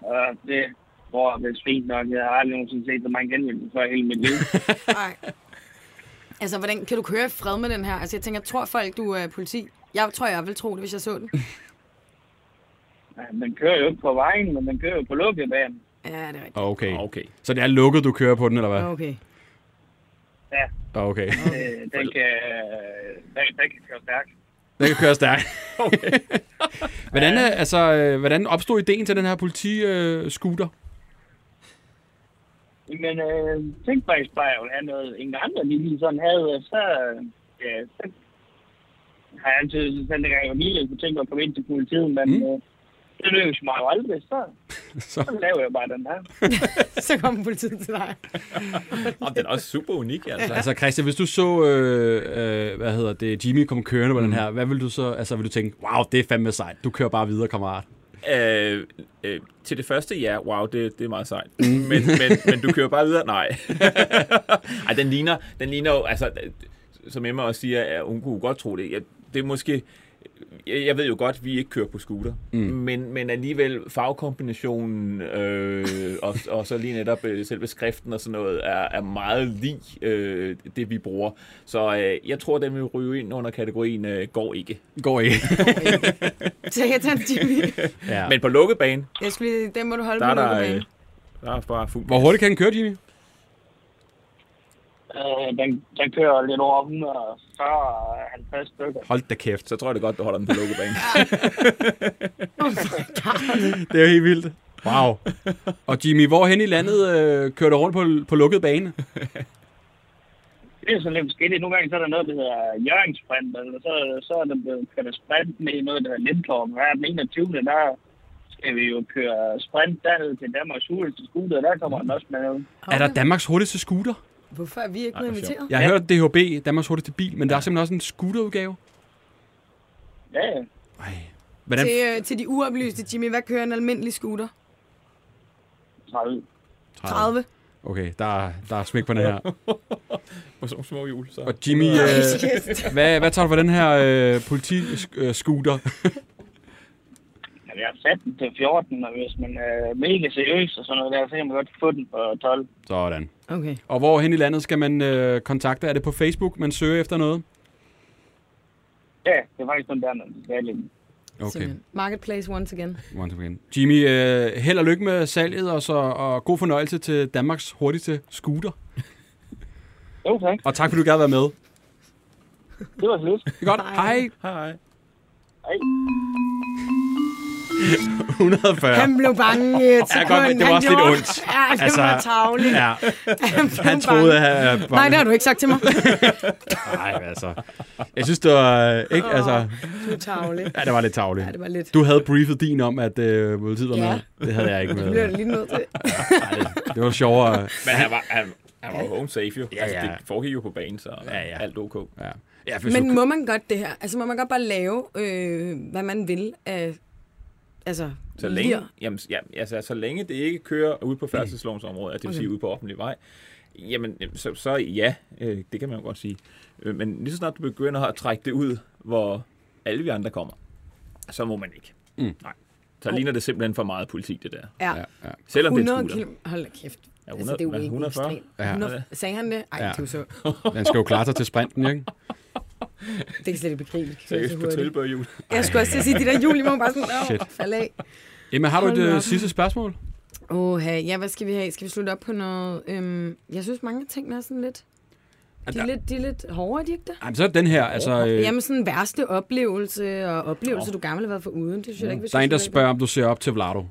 I: Og det går vel fint nok. Jeg har aldrig nogensinde set så mange genvendelser før i hele mit liv.
D: Nej. Altså, hvordan kan du køre i fred med den her? Altså, jeg tænker, tror folk, du er politi? Jeg tror, jeg vil tro det, hvis jeg så den.
I: Ja, Den kører jo ikke på vejen, men den kører jo på lukkebanen.
D: Ja, det er rigtigt.
C: Okay.
E: okay.
C: Så det er lukket, du kører på den, eller hvad?
D: Okay.
I: Ja.
C: Okay.
I: Øh, den, kan, øh, den, den kan køre stærkt.
C: Den kan køre stærkt. Okay. hvordan, er- altså, øh, hvordan opstod ideen til den her politi-scooter?
I: Men øh, tænk mig, hvis bare jeg ville have noget, ingen andre lige lige sådan havde, og så, øh, ja, så har jeg altid sådan, at jeg var lille, kunne tænke mig at komme ind til politiet, men mm. øh, det lykkedes mig jo aldrig, så,
C: Så-
I: så. så laver jeg bare den her.
D: Så kommer politiet til dig.
E: Og den er også super unik, altså.
C: Altså Christian, hvis du så, øh, øh, hvad hedder det, Jimmy komme kørende på den her, hvad vil du så, altså vil du tænke, wow, det er fandme sejt, du kører bare videre, kammerat.
E: Øh, øh, til det første, ja, wow, det, det er meget sejt.
C: Mm.
E: Men, men, men du kører bare videre? Nej. Ej, den ligner, den ligner jo, altså, som Emma også siger, at hun kunne godt tro det. Jeg, det er måske, jeg, jeg ved jo godt, at vi ikke kører på scooter, mm. men, men alligevel farvekombinationen øh, og, og så lige netop øh, selve skriften og sådan noget er, er meget lig øh, det, vi bruger. Så øh, jeg tror, den vil ryge ind under kategorien øh, går ikke.
C: Går ikke.
D: Så jeg tager Jimmy.
C: ja. Men
E: Men på lukket bane,
D: Jeg skulle lige, den må du holde
E: der er
D: på
E: der, øh,
D: lukkebane.
E: der er bare fuld
C: hvor hurtigt kan den køre, Jimmy?
I: Øh, den, den kører lidt over 140-50 stykker.
C: Hold da kæft.
E: så tror jeg det er godt, du holder den på lukkebanen.
C: Det er jo helt vildt. Wow. Og Jimmy, hvorhen i landet øh, kører du rundt på, på lukket bane?
I: Det er sådan lidt forskelligt. Nogle gange så er der noget, der hedder Jørgensprint, eller så, så er der blevet kørt sprint med noget, der hedder Lindtorm. Her den 21. der skal vi jo køre sprint derned til Danmarks hurtigste skole, og der kommer den også med noget.
C: Er der Danmarks hurtigste scooter?
D: Hvorfor er vi ikke blevet inviteret?
C: Jeg har ja. hørt DHB, Danmarks hurtigste bil, men der er simpelthen også en scooterudgave.
I: Ja, ja.
C: Ej. Hvordan,
D: Til, øh, til de uoplyste, Jimmy, hvad kører en almindelig scooter?
I: 30.
D: 30.
C: Okay, der, er- der er smæk på den her.
E: på sådan nogle små hjul. Så.
C: Og Jimmy, øh, hvad, hvad tager du for den her øh, politi-scooter?
I: Men jeg har sat den til 14, og hvis man er mega seriøs og sådan noget der, så kan man godt få den på 12.
C: Sådan.
D: Okay.
C: Og hvor hen i landet skal man øh, kontakte? Er det på Facebook, man søger efter noget?
I: Ja, det er faktisk den der, man skal lide.
C: Okay,
D: Simpelthen. Marketplace once again.
C: once again. Jimmy, øh, held og lykke med salget, og, så, og god fornøjelse til Danmarks hurtigste scooter.
I: Jo, tak.
C: Og tak, fordi du gad være med.
I: Det var slut.
C: Det er godt. Hej.
E: Hej.
I: Hej.
C: 140.
D: Han blev bange i et sekund.
C: godt, men det var
D: Han
C: også lidt
D: gjorde-
C: ondt.
D: Ja, det
C: Altså,
D: altså, var tavligt.
C: Ja,
D: Han, blev
C: han troede,
D: bange.
C: at han var
D: Nej, det har du ikke sagt til mig.
C: Nej, altså. Jeg synes, det var, øh, ikke, altså,
D: Du er tavlig.
C: ja, det var lidt tavligt.
D: Ja, det var lidt.
C: Du havde briefet din om, at øh, politiet var
D: Ja.
C: med. Det havde jeg ikke med.
D: Det bliver du lige nødt til.
C: Det var sjovere.
E: Men han var, han, han var home safe jo. Ja,
C: ja.
E: Altså, det foregik jo på banen, så
C: Ja, ja.
E: alt ok.
C: Ja. Ja, hvis
D: Men
C: du,
D: må man godt det her? Altså, må man godt bare lave, øh, hvad man vil af... Altså,
E: Så længe,
D: lir?
E: jamen, ja, altså, så længe det ikke kører ude på færdselslovens område, det vil sige ude på offentlig vej, jamen, jamen, så, så ja, øh, det kan man jo godt sige. Øh, Men lige så snart du begynder at trække det ud, hvor alle vi andre kommer, så må man ikke. Mm. Nej. Så ligner det simpelthen for meget politi, det der.
D: Ja.
C: Ja, ja.
E: Selvom det er
D: 100
E: en scooter.
D: km. Hold da kæft.
E: Ja,
D: altså,
E: 100,
D: det er jo
E: hvad,
D: ikke
E: 140?
D: ekstremt.
C: Ja.
D: 100, sagde han det? Ej,
C: Ja.
D: ja. det er jo så...
C: den skal jo klare sig til sprinten, ikke?
D: Det kan slet ikke begribe. Det kører så
E: Seriøst på
D: hurtigt.
E: tilbørhjul.
D: Jeg skulle også til at sige, de der jul, I må bare sådan,
C: Shit.
D: åh, falde af.
C: Emma, har du et
D: Hold nu
C: øh,
D: op.
C: sidste spørgsmål?
D: Åh, ja, hvad skal vi have? Skal vi slutte op på noget? Øhm, jeg synes, mange af tingene er sådan lidt... De er lidt, de er lidt hårdere, er de ikke det?
C: Jamen, så er det den her. Altså, øh,
D: Jamen sådan værste oplevelse og oplevelse, du gerne har været for uden. Det synes jeg da ikke, vi
C: Mm. der er en, der
D: synes, det
C: spørger, om du ser op til Vlado.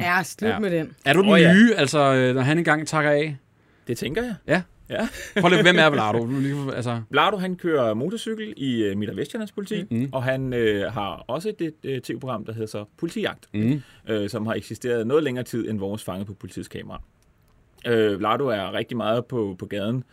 D: Ja, slut
C: Ja.
D: med den.
C: Er du den
E: Åh, ja.
C: nye, altså, øh, når han engang takker af?
E: Det tænker jeg.
C: Ja.
E: Ja.
C: Prøv lige, hvem er Vlado? Nu lige- Altså,
E: Lardo, han kører motorcykel i øh, Midt- og Vestjyllands politi, mm. og han øh, har også et, øh, tv-program, der hedder så Politijagt, mm. øh, som har eksisteret noget længere tid end vores fange på politiets kamera. Øh, Lardo er rigtig meget på, på gaden.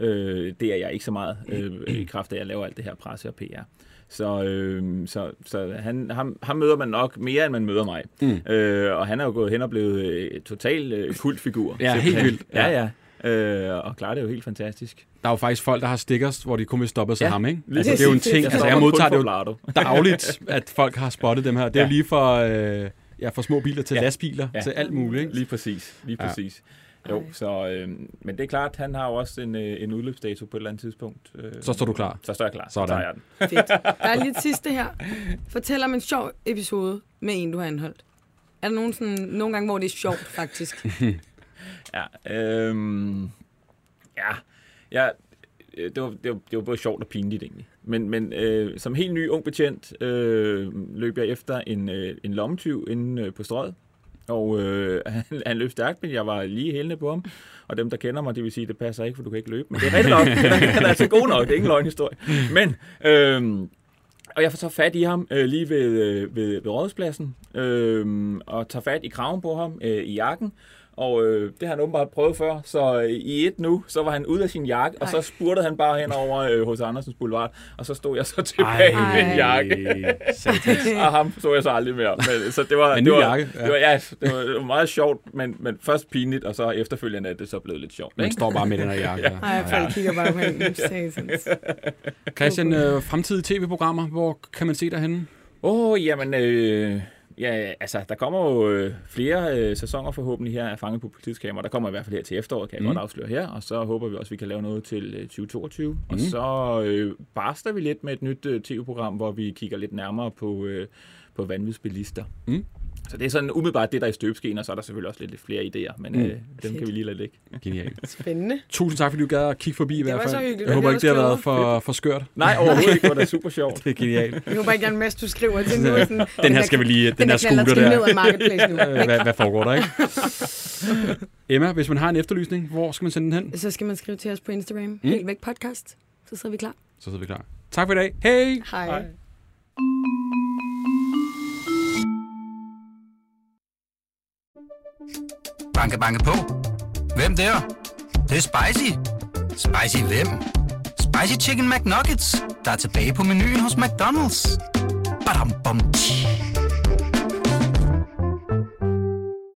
E: Øh, det er jeg ikke så meget, øh, i kraft af, at jeg laver alt det her presse og PR. Så, øh, så, så han, ham, ham møder man nok mere, end man møder mig. Mm. Øh, og han er jo gået hen og blevet øh, total øh, kultfigur.
C: Ja, helt
E: simpelthen.
C: vildt.
E: Ja, ja. Øh, og klarer det jo helt fantastisk.
C: der er jo faktisk folk, der har stickers, hvor de kun vil stoppe sig ja.
E: Ja,
C: ham, ikke?
E: lige
C: Altså, det er jo en
E: præcis.
C: ting.
E: Jeg
C: Altså,
E: stopper
C: jeg
E: kun
C: modtager
E: for
C: det jo
E: Vlado.
C: dagligt, at folk har spottet dem her. Det er jo
E: Ja.
C: lige for, øh, ja, for små biler til ja. lastbiler, ja.
E: Ja.
C: til alt muligt, ikke?
E: Lige præcis, lige
C: Ja.
E: præcis. Jo, så, øh, men det er klart, han har jo også en, øh, en udløbsdato på et eller andet tidspunkt. Øh,
C: Så står du klar.
E: Så står jeg klar. Så
C: Sådan.
E: tager jeg den.
D: Fedt. Der er lige et sidste her. Fortæl om en sjov episode med en, du har anholdt. Er der nogen sådan, nogle gange, hvor det er sjovt, faktisk?
E: øhm, Ja, øh, ja. Jeg, øh, det, var, det, var, det var både sjovt og pinligt egentlig. Men, men øh, som helt ny ung betjent øh, løb jeg efter en, øh, en lommetyv inde øh, på strøget. Og øh, han, han løb stærkt, men jeg var lige hælende på ham. Og dem, der kender mig, det vil sige, det passer ikke, for du kan ikke løbe. Men det er rigtig nok. Han er altså god nok. Det er ikke en løgnhistorie. Men... Øh, og jeg får så fat i ham øh, lige ved, øh, ved, ved rådspladsen, øh, og tager fat i kraven på ham øh, i jakken. Og øh, det har han åbenbart prøvet før, så øh, i et nu, så var han ude af sin jakke, og så spurtede han bare hen over øh, hos Andersens Boulevard, og så stod jeg så tilbage Ej. med en jakke, og ham så jeg så aldrig mere. Men, så det var,
C: Men ny
E: det var,
C: jakke, ja.
E: Det var, ja, det var, det var meget sjovt, men, men først pinligt, og så efterfølgende er det så blevet lidt sjovt.
C: Man
E: Ikke?
C: står bare med den her jakke. ja.
D: Ej, folk kigger bare på hende. Satans.
C: Christian, øh, fremtidige tv-programmer, hvor kan man se dig henne?
E: Åh, oh, jamen, øh, ja, altså, der kommer jo øh, flere øh, sæsoner forhåbentlig her af Fanget på politiets kamera. Der kommer i hvert fald her til efteråret, kan jeg mm. godt afsløre her. Og så håber vi også, at vi kan lave noget til øh, 2022. Mm. Og så øh, barster vi lidt med et nyt øh, tv-program, hvor vi kigger lidt nærmere på, øh, på vanvidsbilister.
C: Mm.
E: Så det er sådan umiddelbart det, der er i støbeskeen, og så er der selvfølgelig også lidt, lidt flere idéer, men øh, dem kan vi lige lade ligge.
C: Genialt.
D: Spændende.
C: Tusind tak, fordi du gad at kigge forbi i hvert
D: var
C: fald.
D: så hyggeligt.
C: Jeg
D: Vi
C: håber
D: blev
C: ikke, det har
D: også
C: været for, for skørt.
E: Nej, overhovedet ikke, hvor det er super sjovt.
C: Det er genialt.
D: Jeg håber ikke, at Mads, du skriver til nu. Sådan,
C: Den her skal vi lige... Den, her scooter
D: Den her ned
C: der.
D: af marketplace nu.
C: Øh, Hvad, hvad foregår der, ikke? Emma, hvis man har en efterlysning, hvor skal man sende den hen?
D: Så skal man skrive til os på Instagram. Mm. Helt væk podcast. Så sidder vi klar.
C: Så sidder vi klar. Tak for i dag. Hej!
D: Hej. Hej.
A: Banke, banke på. Hvem der? Det, det er spicy. Spicy hvem? Spicy Chicken McNuggets, der er tilbage på menuen hos McDonald's. Badum, bom, tji.